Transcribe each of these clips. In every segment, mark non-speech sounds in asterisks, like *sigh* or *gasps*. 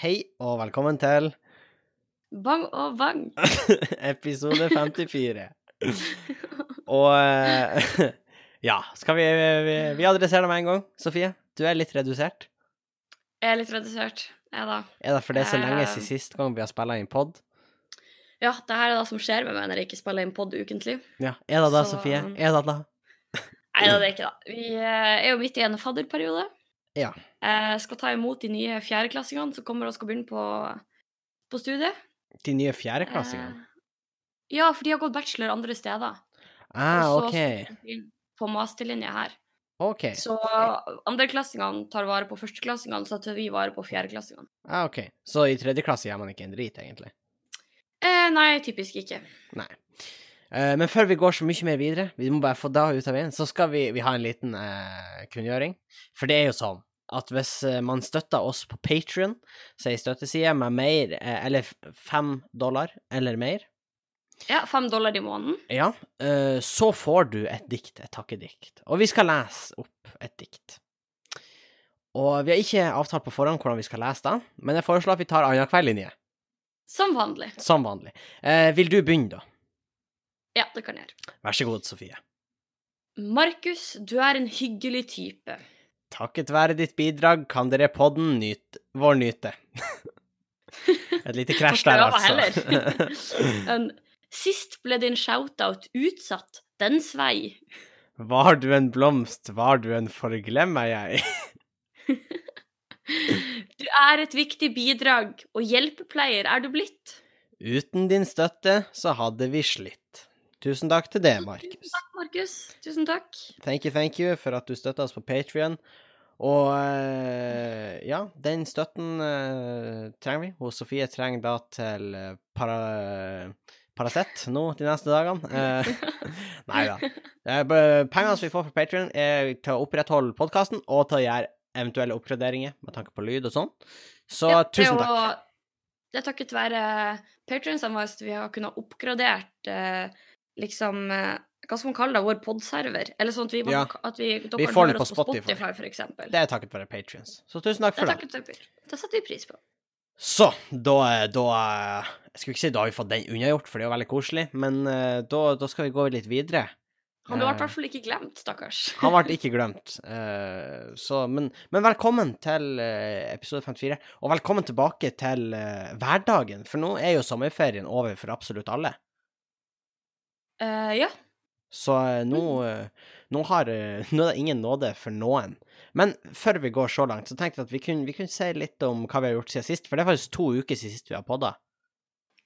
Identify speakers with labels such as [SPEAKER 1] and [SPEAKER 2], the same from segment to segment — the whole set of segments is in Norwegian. [SPEAKER 1] Hei og velkommen til
[SPEAKER 2] Bang og bang.
[SPEAKER 1] episode
[SPEAKER 2] *laughs*
[SPEAKER 1] 54. Og eh, *laughs* ja, skal vi, vi, vi adressere det med en gang? Sofie, du er litt redusert.
[SPEAKER 2] Jeg er litt redusert. Ja da.
[SPEAKER 1] Er det fordi det er så lenge
[SPEAKER 2] Eh.
[SPEAKER 1] siden sist gang vi har spilla inn pod?
[SPEAKER 2] Ja, det her er det som skjer med meg når jeg ikke spiller inn pod ukentlig.
[SPEAKER 1] Ja, er det det,
[SPEAKER 2] Så- um,
[SPEAKER 1] Sofie? Er det det?
[SPEAKER 2] Nei da, det er ikke det. Vi eh, er jo midt i en fadderperiode.
[SPEAKER 1] Ja.
[SPEAKER 2] Jeg skal ta imot de nye fjerdeklassingene som kommer og skal begynne på, på studiet.
[SPEAKER 1] De nye fjerdeklassingene?
[SPEAKER 2] Eh, Ja, for de har gått bachelor andre steder.
[SPEAKER 1] Ah,
[SPEAKER 2] Eh, og så-
[SPEAKER 1] OK.
[SPEAKER 2] På masterlinja her.
[SPEAKER 1] OK.
[SPEAKER 2] Så andreklassingene tar vare på førsteklassingene, så tar vi vare på fjerdeklassingene.
[SPEAKER 1] Ah, ok. Så i tredje klasse gjør man ikke en drit, egentlig.
[SPEAKER 2] Eh, nei, typisk ikke.
[SPEAKER 1] Eh, Men før vi går så mye mer videre, vi må bare få det ut av veien, så skal vi, vi ha en liten eh, kunngjøring. For det er jo sånn at hvis eh, man støtter oss på Patrion, så er ei støtteside med mer, eh, eller f- fem dollar eller mer,
[SPEAKER 2] Ja, fem dollar i måneden.
[SPEAKER 1] ja, eh, så får du et dikt, et takkedikt. Og vi skal lese opp et dikt. Og vi har ikke avtalt på forhånd hvordan vi skal lese det, men jeg foreslår at vi tar annenhver linje,
[SPEAKER 2] Som vanlig.
[SPEAKER 1] som vanlig. Eh, vil du begynne, da?
[SPEAKER 2] Ja, det kan jeg gjøre.
[SPEAKER 1] Vær så god, Sofie.
[SPEAKER 2] Markus, du er en hyggelig type.
[SPEAKER 1] Takket være ditt bidrag kan dere podden nyt, vår nyte. Et lite
[SPEAKER 2] *laughs*
[SPEAKER 1] krasj der,
[SPEAKER 2] Takk skal
[SPEAKER 1] altså.
[SPEAKER 2] du ha, En, sist ble din shoutout utsatt dens vei.
[SPEAKER 1] *laughs* Var du en blomst, var du en forglem meg, jeg.
[SPEAKER 2] Du er et viktig bidrag, og hjelpepleier er du blitt.
[SPEAKER 1] Uten din støtte så hadde vi slitt. Tusen takk til det, Markus.
[SPEAKER 2] Takk, Markus. Tusen takk.
[SPEAKER 1] Thank you, thank you for at du støtta oss på Patrion. Og eh, ja, den støtten eh, trenger vi. Og Sofie trenger da til eh, para, Paracet nå de neste dagene. Eh, *laughs* nei da. Eh, b- Pengene som vi får fra Patrion, er til å opprettholde podkasten og til å gjøre eventuelle oppgraderinger med tanke på lyd og sånn. Så
[SPEAKER 2] Ja, det er
[SPEAKER 1] tusen takk.
[SPEAKER 2] jo- Det er takket være patrionsene våre at vi har kunnet oppgradert eh, liksom eh, Hva skal man kalle det? Vår podserver? Eller sånn at vi,
[SPEAKER 1] Ja.
[SPEAKER 2] at vi, dere
[SPEAKER 1] Vi
[SPEAKER 2] kan
[SPEAKER 1] får den
[SPEAKER 2] høre
[SPEAKER 1] på
[SPEAKER 2] oss på
[SPEAKER 1] Spotify.
[SPEAKER 2] Spotify, for eksempel.
[SPEAKER 1] Det er takket være Patrions. Så tusen takk
[SPEAKER 2] Det
[SPEAKER 1] for det.
[SPEAKER 2] takket vi for. Det setter vi pris på.
[SPEAKER 1] Så, da, da Jeg skulle ikke si da har vi fått den unnagjort, for det er jo veldig koselig, men eh, da, da skal vi gå litt videre.
[SPEAKER 2] Han ble i
[SPEAKER 1] Eh,
[SPEAKER 2] hvert fall ikke glemt, stakkars.
[SPEAKER 1] Han ble ikke glemt. *laughs* eh, så, men, men velkommen til eh, episode 54, og velkommen tilbake til eh, hverdagen, for nå er jo sommerferien over for absolutt alle.
[SPEAKER 2] Eh, ja.
[SPEAKER 1] Så eh, nå, eh, nå, har, eh, nå er det ingen nåde for noen. Men før vi går så langt, så tenkte jeg at vi kunne, vi kunne si litt om hva vi har gjort siden sist, for det er faktisk to uker siden sist vi har podda,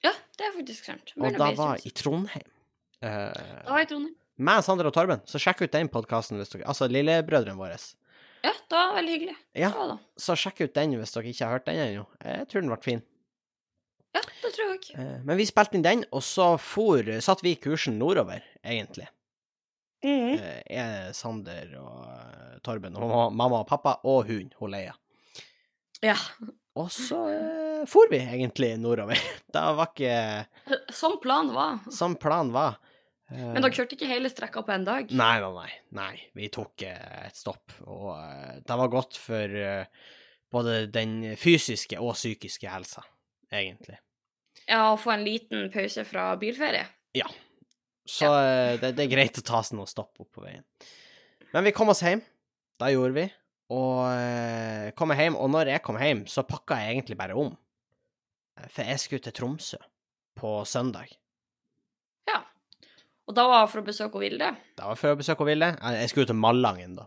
[SPEAKER 2] ja, det er faktisk sant.
[SPEAKER 1] og
[SPEAKER 2] Men
[SPEAKER 1] da
[SPEAKER 2] blir
[SPEAKER 1] var
[SPEAKER 2] stort.
[SPEAKER 1] i Trondheim. Eh,
[SPEAKER 2] Da var jeg i Trondheim.
[SPEAKER 1] meg, Sander og Torben, så sjekk ut den podkasten hvis dere Altså lillebrødrene våre.
[SPEAKER 2] Ja, det var veldig hyggelig.
[SPEAKER 1] Ja,
[SPEAKER 2] Det var det.
[SPEAKER 1] så sjekk ut den hvis dere ikke har hørt den ennå. Jeg tror den ble fin.
[SPEAKER 2] Ja, det tror jeg òg.
[SPEAKER 1] Eh, Men vi spilte inn den, og så for Satt vi kursen nordover, egentlig. Eh, Jeg, Sander og eh, Torben og mamma- mamma og pappa og hun, hun Leia.
[SPEAKER 2] Ja.
[SPEAKER 1] Og så eh, for vi egentlig nordover. *laughs* Det var ikke
[SPEAKER 2] Som planen var.
[SPEAKER 1] som planen var. Eh,
[SPEAKER 2] Men dere kjørte ikke hele strekka på en dag?
[SPEAKER 1] Nei, nei, nei. nei. Vi tok eh, et stopp, og eh, det var godt for eh, både den fysiske og psykiske helsa, egentlig.
[SPEAKER 2] Ja, å få en liten pause fra bilferie?
[SPEAKER 1] Så eh, det, det er greit å ta seg noen stopp opp på veien. Men vi kom oss hjem. Det gjorde vi. Og eh, kom jeg hjem, og når jeg kom hjem, så pakka jeg egentlig bare om. Eh, For jeg skulle til Tromsø på søndag.
[SPEAKER 2] Ja. Og da var jeg for å besøke hun Vilde?
[SPEAKER 1] Det var før besøk og ville. Eh, Jeg skulle jo til Malangen, da.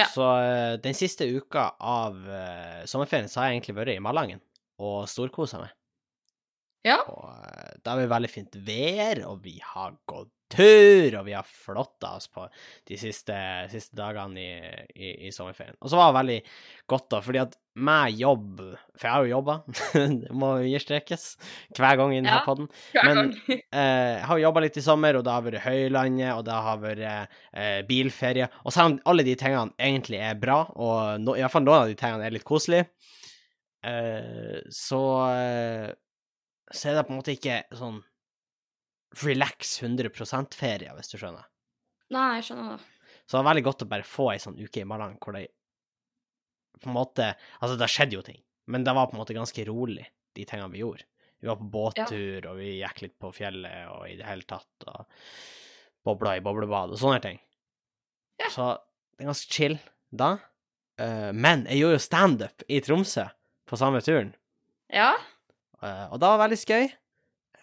[SPEAKER 2] Ja.
[SPEAKER 1] Så eh, den siste uka av eh, sommerferien så har jeg egentlig vært i Malangen og storkosa meg.
[SPEAKER 2] Ja.
[SPEAKER 1] Og eh, det har vært veldig fint vær, og vi har gått tur, og vi har flotta oss på de siste, siste dagene i, i, i sommerferien. Og så var det veldig godt, da, fordi at med jobb For jeg har jo jobba, *laughs* det må understrekes, hver gang i denne
[SPEAKER 2] Ja.
[SPEAKER 1] podden.
[SPEAKER 2] Hver
[SPEAKER 1] Men-
[SPEAKER 2] gang.
[SPEAKER 1] Eh, jeg har jobba litt i sommer, og det har vært høylandet, og det har vært eh, bilferie. Og selv om alle de tingene egentlig er bra, og no, iallfall noen av de tingene er litt koselige, eh, så eh, Så er det på en måte ikke sånn relax 100 %-ferie, hvis du skjønner.
[SPEAKER 2] Nei, jeg skjønner det.
[SPEAKER 1] Så det var veldig godt å bare få ei sånn uke i Malang hvor det på en måte Altså, det skjedde jo ting. Men det var på en måte ganske rolig, de tingene vi gjorde. Vi var på
[SPEAKER 2] Ja.
[SPEAKER 1] båttur, og vi gikk litt på fjellet, og i det hele tatt, og bobla i boblebad, og sånne ting.
[SPEAKER 2] Ja.
[SPEAKER 1] Så det er ganske chill da. Eh, men jeg gjorde jo standup i Tromsø på samme turen,
[SPEAKER 2] Ja,
[SPEAKER 1] eh, og det var veldig skøy.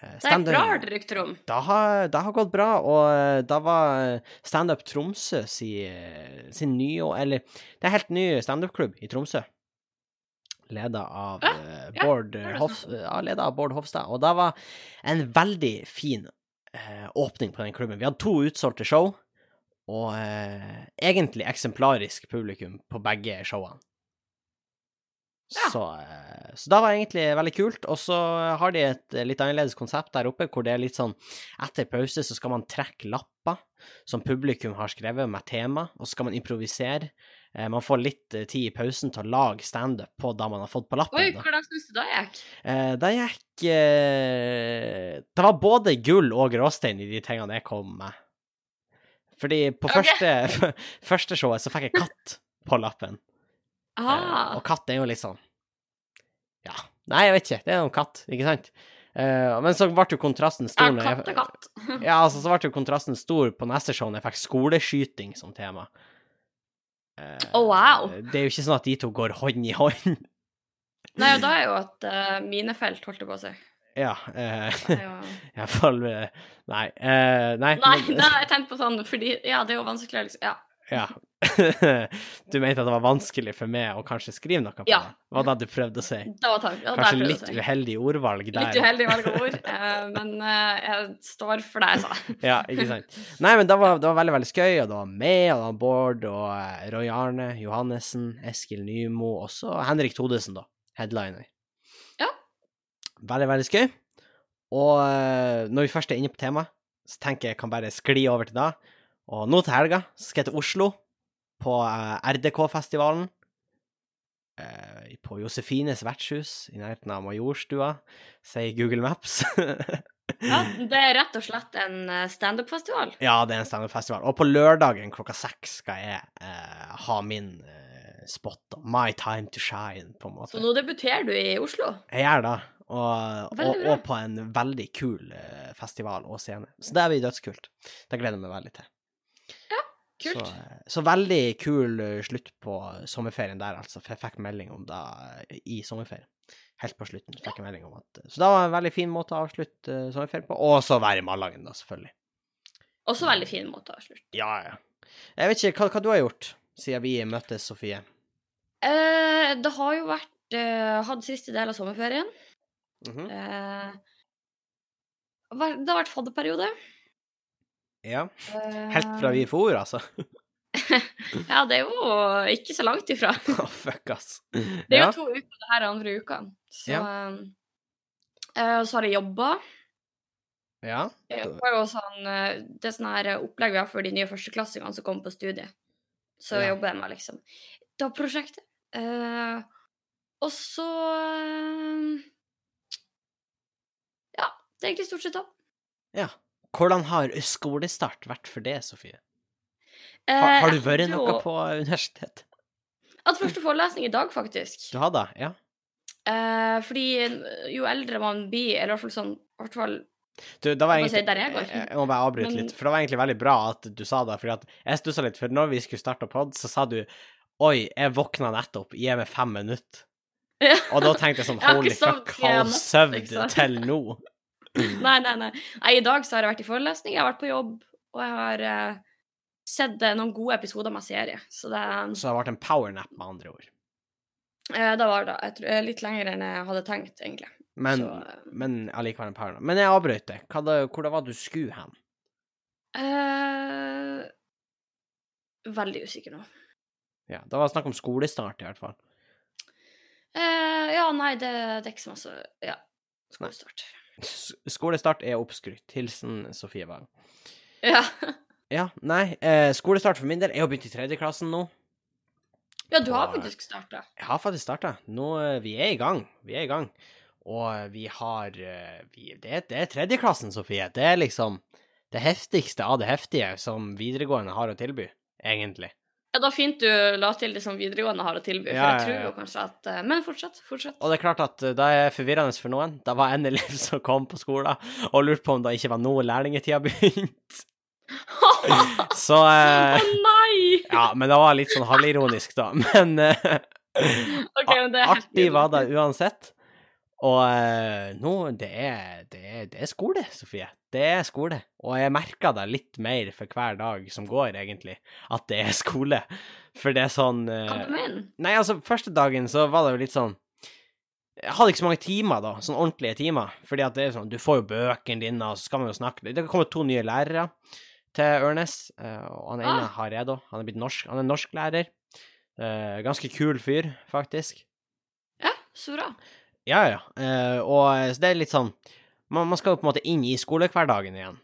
[SPEAKER 1] Eh,
[SPEAKER 2] det er
[SPEAKER 1] standup-
[SPEAKER 2] bra, har dere rykt rom.
[SPEAKER 1] det har, det har gått bra, og eh, da var eh, Standup Tromsø si, eh, sin nye Eller det er en helt ny standup-klubb i Tromsø. Leda av,
[SPEAKER 2] Ja,
[SPEAKER 1] eh,
[SPEAKER 2] Ah, ja,
[SPEAKER 1] Bård,
[SPEAKER 2] det
[SPEAKER 1] eh,
[SPEAKER 2] er det
[SPEAKER 1] Hoff, ja, ledet av Bård Hofstad. Og det var en veldig fin eh, åpning på den klubben. Vi hadde to utsolgte show, og eh, egentlig eksemplarisk publikum på begge showene.
[SPEAKER 2] Ja.
[SPEAKER 1] Så, eh, så det var egentlig veldig kult. Og så har de et eh, litt annerledes konsept der oppe, hvor det er litt sånn etter pause så skal man trekke lapper som publikum har skrevet med tema, og så skal man improvisere. Eh, Man får litt eh, tid i pausen til å lage standup på det man har fått på lappen.
[SPEAKER 2] Oi,
[SPEAKER 1] da.
[SPEAKER 2] hvordan syns du det gikk?
[SPEAKER 1] Eh, det gikk eh, Det var både gull og gråstein i de tingene jeg kom med. Fordi på
[SPEAKER 2] Ok.
[SPEAKER 1] første, *laughs* første showet så fikk jeg katt på lappen. Eh,
[SPEAKER 2] Ah,
[SPEAKER 1] Og katt er jo litt sånn Ja. Nei, jeg vet ikke. Det er jo en katt, ikke sant? Eh, men så ble jo kontrasten stor
[SPEAKER 2] er
[SPEAKER 1] når jeg-
[SPEAKER 2] katt og katt.
[SPEAKER 1] ja, altså, så ble jo kontrasten stor på neste show når jeg fikk skoleskyting som tema. Eh,
[SPEAKER 2] Å, wow.
[SPEAKER 1] Det er jo ikke sånn at de to går hånd i hånd. *laughs*
[SPEAKER 2] Nei, og da er jo at eh, mine felt holdt det på seg.
[SPEAKER 1] Ja. eh,
[SPEAKER 2] Det er jo-
[SPEAKER 1] i hvert fall eh, Nei. eh, nei,
[SPEAKER 2] Nei,
[SPEAKER 1] men-
[SPEAKER 2] nei, jeg tenkte på sånn, fordi ja, det er jo vanskelig å liksom Ja.
[SPEAKER 1] Ja. *laughs* Du mente at det var vanskelig for meg å kanskje skrive noe på
[SPEAKER 2] Ja.
[SPEAKER 1] det? Var det du prøvde å si?
[SPEAKER 2] Det var tanken. Ja, der
[SPEAKER 1] Kanskje
[SPEAKER 2] prøvde
[SPEAKER 1] litt
[SPEAKER 2] jeg.
[SPEAKER 1] uheldig ordvalg der.
[SPEAKER 2] Litt uheldig valg av ord, eh, men eh, jeg står for det jeg
[SPEAKER 1] *laughs*
[SPEAKER 2] sa.
[SPEAKER 1] Ja, ikke sant. Nei, men det var, det var veldig, veldig skøy, og det var meg, og det var Bård, og eh, Roy Arne, Johannessen, Eskil Nymo, og så Henrik Todesen, da. Headliner.
[SPEAKER 2] Ja.
[SPEAKER 1] Veldig, veldig skøy. Og eh, når vi først er inne på temaet, så tenker jeg jeg kan bare skli over til deg. Og nå til helga så skal jeg til Oslo, på eh, RDK-festivalen. eh, På Josefines vertshus i nærheten av Majorstua, sier Google Maps. *laughs*
[SPEAKER 2] Ja, det er rett og slett en eh, standup-festival.
[SPEAKER 1] Ja, det er en standup-festival. Og på lørdagen klokka seks skal jeg eh, ha min eh, spot. da. My time to shine, på en måte.
[SPEAKER 2] Så nå debuterer du i Oslo.
[SPEAKER 1] Jeg gjør det. Og, og,
[SPEAKER 2] Veldig bra.
[SPEAKER 1] og på en veldig kul eh, festival og scene. Så det blir dødskult. Det gleder jeg meg veldig til.
[SPEAKER 2] Kult.
[SPEAKER 1] Så, eh, så veldig kul eh, slutt på sommerferien der, altså. For jeg fikk melding om det eh, i sommerferien. Helt på slutten fikk jeg melding om at eh, Så det var en veldig fin måte å avslutte eh, sommerferien på. Og så være i Malangen, da, selvfølgelig.
[SPEAKER 2] Også veldig fin måte å avslutte.
[SPEAKER 1] Ja, ja. Jeg vet ikke, hva, hva du har gjort siden vi møttes, Sofie?
[SPEAKER 2] Eh, det har jo vært eh, hatt siste del av sommerferien. Eh, vær- det har vært fadderperiode.
[SPEAKER 1] Ja.
[SPEAKER 2] Eh,
[SPEAKER 1] Helt fra vi for ord, altså. *laughs*
[SPEAKER 2] Ja, det er jo ikke så langt ifra.
[SPEAKER 1] Å, fuck, ass.
[SPEAKER 2] Det er
[SPEAKER 1] Ja.
[SPEAKER 2] jo to uker, det her er andre uka. Så,
[SPEAKER 1] Ja.
[SPEAKER 2] eh, og så har jeg jobba.
[SPEAKER 1] Ja.
[SPEAKER 2] Jeg jobber jo sånn eh, Det er sånn her eh, opplegg vi har for de nye førsteklassingene som kommer på studiet. Så
[SPEAKER 1] Ja.
[SPEAKER 2] jobber jeg med liksom da prosjektet. Eh, og så eh, Ja, det er egentlig stort sett det.
[SPEAKER 1] ja. Hvordan har skolestart vært for det, Sofie?
[SPEAKER 2] Eh,
[SPEAKER 1] Har, har du
[SPEAKER 2] jeg
[SPEAKER 1] vært
[SPEAKER 2] hadde
[SPEAKER 1] noe
[SPEAKER 2] jo-
[SPEAKER 1] på universitetet?
[SPEAKER 2] At første forelesning i dag, faktisk.
[SPEAKER 1] Du har det? Ja.
[SPEAKER 2] Eh, fordi jo eldre man blir, eller i hvert fall sånn i hvert fall,
[SPEAKER 1] Du, det var
[SPEAKER 2] Jeg må si
[SPEAKER 1] egentlig eh,
[SPEAKER 2] der jeg går.
[SPEAKER 1] Jeg jeg må bare avbryte
[SPEAKER 2] Men-
[SPEAKER 1] litt, for det var egentlig veldig bra at du sa det, fordi at jeg stussa litt, for når vi skulle starte pod, så sa du Oi, jeg våkna nettopp, gi meg fem minutter.
[SPEAKER 2] Ja.
[SPEAKER 1] Og da tenkte jeg sånn
[SPEAKER 2] Jeg har
[SPEAKER 1] Holy
[SPEAKER 2] ikke sovet
[SPEAKER 1] fuck,
[SPEAKER 2] siden
[SPEAKER 1] har
[SPEAKER 2] jeg
[SPEAKER 1] hun
[SPEAKER 2] natt, ikke
[SPEAKER 1] søvd
[SPEAKER 2] sant?»
[SPEAKER 1] til nå?
[SPEAKER 2] *laughs* Nei, nei, nei. nei. I dag så har jeg vært i forelesning, jeg har vært på jobb, og jeg har eh, sett eh, noen gode episoder med serie. Så det,
[SPEAKER 1] Så det ble en powernap, med andre ord.
[SPEAKER 2] eh, det var det. Jeg tror, eh, litt lenger enn jeg hadde tenkt, egentlig.
[SPEAKER 1] Men,
[SPEAKER 2] Så, eh,
[SPEAKER 1] men allikevel en powernap. Men jeg avbrøt det. Hva da- Hvor det var du skulle hen?
[SPEAKER 2] eh, veldig usikker nå.
[SPEAKER 1] Ja, det var snakk om skolestart, i hvert fall.
[SPEAKER 2] Eh, ja, nei, det, det er ikke så masse Ja.
[SPEAKER 1] Nei.
[SPEAKER 2] Skolestart.
[SPEAKER 1] S skolestart er oppskrytt. Hilsen Sofie Wang.
[SPEAKER 2] Ja.
[SPEAKER 1] Ja, nei, eh, skolestart for min del Jeg har begynt i tredje klassen nå.
[SPEAKER 2] ja, du har
[SPEAKER 1] Og-
[SPEAKER 2] faktisk starta.
[SPEAKER 1] Jeg har faktisk starta. Nå, eh, vi er i gang. Vi er i gang. Og eh, vi har eh, vi, det, det er tredjeklassen, Sofie. Det er liksom det heftigste av det heftige som videregående har å tilby, egentlig.
[SPEAKER 2] Ja, da fint du la til det som videregående har å tilby, for
[SPEAKER 1] Ja, ja,
[SPEAKER 2] jeg tror
[SPEAKER 1] ja.
[SPEAKER 2] jo kanskje at eh, Men fortsett, fortsett.
[SPEAKER 1] Og det er klart at eh, det er forvirrende for noen. Det var en *laughs* elev som kom på skolen og lurte på om det ikke var nå lærlingetida *laughs* begynte. Så
[SPEAKER 2] *laughs* Å
[SPEAKER 1] eh,
[SPEAKER 2] nei!
[SPEAKER 1] Ja, men det var litt sånn halvironisk, da. Men *laughs* eh,
[SPEAKER 2] Ok, men det er helt
[SPEAKER 1] artig var
[SPEAKER 2] nydelig.
[SPEAKER 1] det uansett. Og eh, nå, det er, det, er, det er skole, Sofie. Det er skole. Og jeg merker det litt mer for hver dag som går, egentlig, at det er skole. For det er sånn eh,
[SPEAKER 2] Hva du mener?
[SPEAKER 1] Nei, altså, første dagen så var det jo litt sånn Jeg hadde ikke så mange timer, da. Sånn ordentlige timer. Fordi at det er sånn, du får jo bøkene dine, og så skal man jo snakke Det kommer to nye lærere til Ørnes, eh, og han ene
[SPEAKER 2] Ah.
[SPEAKER 1] har jeg, da. Han er blitt norsk. Han er norsklærer. Eh, Ganske kul fyr, faktisk.
[SPEAKER 2] Ja, så bra.
[SPEAKER 1] Ja, ja. Eh, og eh, så det er litt sånn Man, man skal jo på en måte inn i skolehverdagen igjen.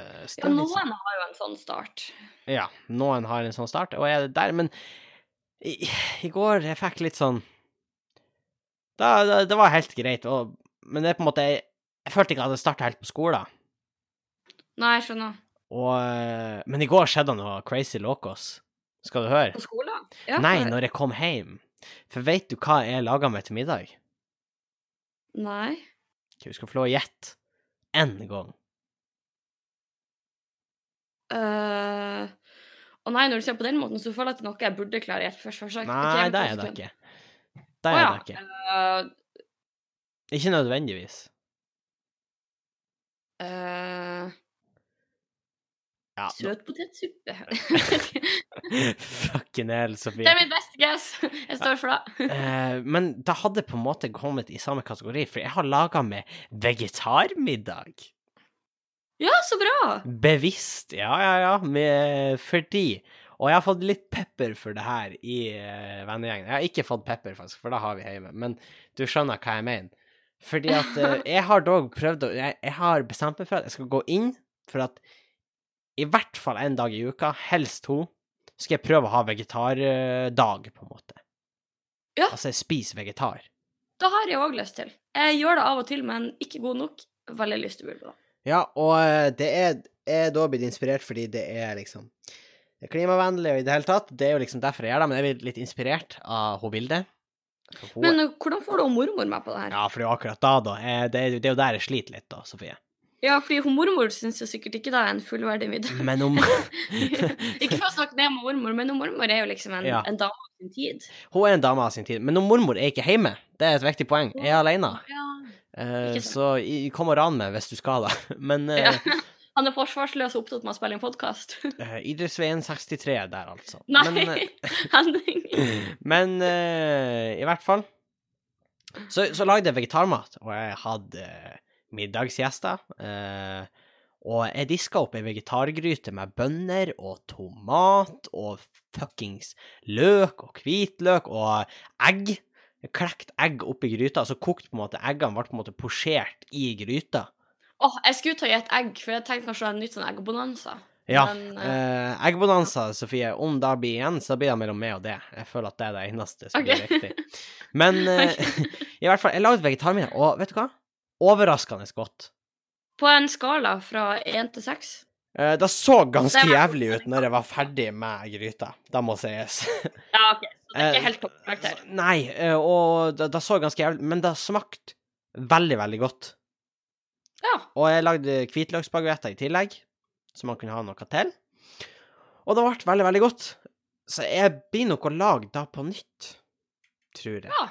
[SPEAKER 1] Eh, så det
[SPEAKER 2] Ja,
[SPEAKER 1] er litt sånn-
[SPEAKER 2] noen har jo en sånn start.
[SPEAKER 1] ja, noen har en sånn start, og jeg er der, men i, i går jeg fikk litt sånn da, da, Det var helt greit, og, men det er på en måte Jeg, jeg følte ikke at jeg starta helt på skolen.
[SPEAKER 2] Nei, jeg skjønner.
[SPEAKER 1] Og, eh, men i går skjedde noe crazy locos. Skal du høre?
[SPEAKER 2] På skolen? Ja,
[SPEAKER 1] Nei,
[SPEAKER 2] for-
[SPEAKER 1] når jeg kom hjem. For veit du hva jeg laga meg til middag?
[SPEAKER 2] Nei.
[SPEAKER 1] Du skal få lov å gjette én gang.
[SPEAKER 2] Eh, Å nei, når du ser på den måten, så føler jeg at det er noe jeg burde klare i et første forsøk.
[SPEAKER 1] Nei, det er det ikke. Det er det ikke.
[SPEAKER 2] Eh,
[SPEAKER 1] Ikke nødvendigvis. Ja,
[SPEAKER 2] Søtpotetsuppe.
[SPEAKER 1] *laughs* fucking hell, Sofie.
[SPEAKER 2] det er mitt beste guess. *laughs* Jeg står for det.
[SPEAKER 1] Eh, men det hadde på en måte kommet i samme kategori, for jeg har laga meg vegetarmiddag.
[SPEAKER 2] Ja, så bra!
[SPEAKER 1] Bevisst, ja, ja, ja, med, fordi Og jeg har fått litt pepper for det her i eh, vennegjengen. Jeg har ikke fått pepper, faktisk, for det har vi hjemme, men du skjønner hva jeg mener. Fordi at eh, jeg har dog prøvd å jeg, jeg har bestemt meg for at jeg skal gå inn for at i hvert fall en dag i uka, helst to, skal jeg prøve å ha vegetardag, eh, på en måte.
[SPEAKER 2] Ja.
[SPEAKER 1] Altså, jeg spiser vegetar.
[SPEAKER 2] Det har jeg òg lyst til. Jeg gjør det av og til, men ikke god nok. Veldig lyst til å bli på det.
[SPEAKER 1] Ja, og eh, det er, er da blitt inspirert fordi det er liksom det er klimavennlig og i det hele tatt. Det er jo liksom derfor jeg gjør det, men jeg blir litt inspirert av hun Vilde. For hun-
[SPEAKER 2] Men eh, hvordan får du hun mormor med på det her? Ja,
[SPEAKER 1] ja, for det er jo akkurat da, da. Eh, Det er, jo- det er jo der jeg sliter litt, da, Sofie.
[SPEAKER 2] fordi hun mormor syns jo sikkert ikke det er en fullverdig middag.
[SPEAKER 1] Men *laughs* om
[SPEAKER 2] *laughs* ikke for å snakke ned med mormor, men hun mormor er jo liksom en,
[SPEAKER 1] Ja.
[SPEAKER 2] en dame av sin tid.
[SPEAKER 1] Hun er en dame av sin tid. Men om mormor er ikke hjemme. Det er et viktig poeng. Jeg er alene.
[SPEAKER 2] Ja.
[SPEAKER 1] Eh,
[SPEAKER 2] Ikke sant.
[SPEAKER 1] så i- kom og ran meg hvis du skal, da. *laughs* Men eh,
[SPEAKER 2] Ja. Han er forsvarsløs og opptatt med å spille en podkast.
[SPEAKER 1] eh, Idrettsveien 63 der, altså.
[SPEAKER 2] *laughs* Nei,
[SPEAKER 1] Men, eh,
[SPEAKER 2] *laughs* Henning.
[SPEAKER 1] Men eh, i hvert fall så, så lagde jeg vegetarmat, og jeg hadde eh, middagsgjester. eh, og jeg diska opp ei vegetargryte med bønner og tomat og fuckings løk og hvitløk og egg. Jeg klekte egg oppi gryta, så kokte på en måte eggene ble på en måte posjert i gryta.
[SPEAKER 2] Åh, jeg skulle ta i et egg, for jeg tenkte kanskje det er en nytt sånn eggbonanza.
[SPEAKER 1] Ja.
[SPEAKER 2] Men, eh,
[SPEAKER 1] Eh, eggbonanza, Sofie. Om det blir igjen, så blir det mellom meg og det. Jeg føler at det er det eneste som
[SPEAKER 2] Ok.
[SPEAKER 1] blir riktig. Men
[SPEAKER 2] *laughs*
[SPEAKER 1] eh, *laughs* i hvert fall, jeg lagde vegetarmiddag, og vet du hva? Overraskende godt.
[SPEAKER 2] På en skala fra én til seks.
[SPEAKER 1] Eh, det så ganske
[SPEAKER 2] Det var-
[SPEAKER 1] jævlig ut når jeg var ferdig med gryta, det må sies.
[SPEAKER 2] Ja, OK. Så det er
[SPEAKER 1] Eh,
[SPEAKER 2] ikke helt topp karakter.
[SPEAKER 1] så- Nei, eh, og det, det så ganske jævlig Men det smakte veldig, veldig godt.
[SPEAKER 2] Ja.
[SPEAKER 1] Og jeg lagde hvitløksbaguetter i tillegg, så man kunne ha noe til. Og det ble veldig, veldig godt. Så jeg blir nok å lage da på nytt, tror jeg.
[SPEAKER 2] ja.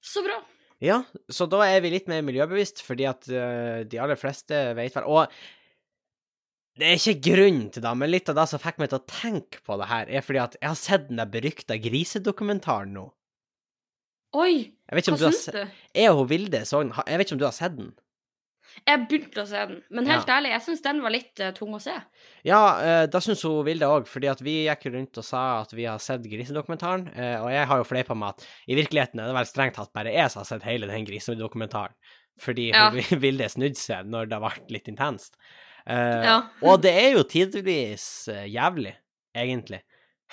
[SPEAKER 2] Så bra.
[SPEAKER 1] Ja, så da er vi litt mer miljøbevisst, fordi at øh, de aller fleste vet vel Og det er ikke grunnen til det, men litt av det som fikk meg til å tenke på det her, er fordi at jeg har sett den der berykta grisedokumentaren nå.
[SPEAKER 2] Oi,
[SPEAKER 1] Jeg vet ikke
[SPEAKER 2] hva
[SPEAKER 1] om du har
[SPEAKER 2] syns
[SPEAKER 1] se-
[SPEAKER 2] du?
[SPEAKER 1] Jeg og hun Vilde så den. Jeg vet ikke om du har sett den?
[SPEAKER 2] Jeg begynte å se den, men helt ærlig, jeg syns den var litt eh, tung å se.
[SPEAKER 1] Ja, eh, da syns hun Vilde òg, fordi at vi gikk jo rundt og sa at vi har sett grisedokumentaren, eh, og jeg har jo fleipa med at i virkeligheten er det vel strengt tatt bare jeg som har sett hele den grisedokumentaren, fordi
[SPEAKER 2] Ja.
[SPEAKER 1] hun *laughs* Vilde snudde seg når det ble litt intenst. Eh,
[SPEAKER 2] Ja.
[SPEAKER 1] og det er jo tidvis eh, jævlig, egentlig.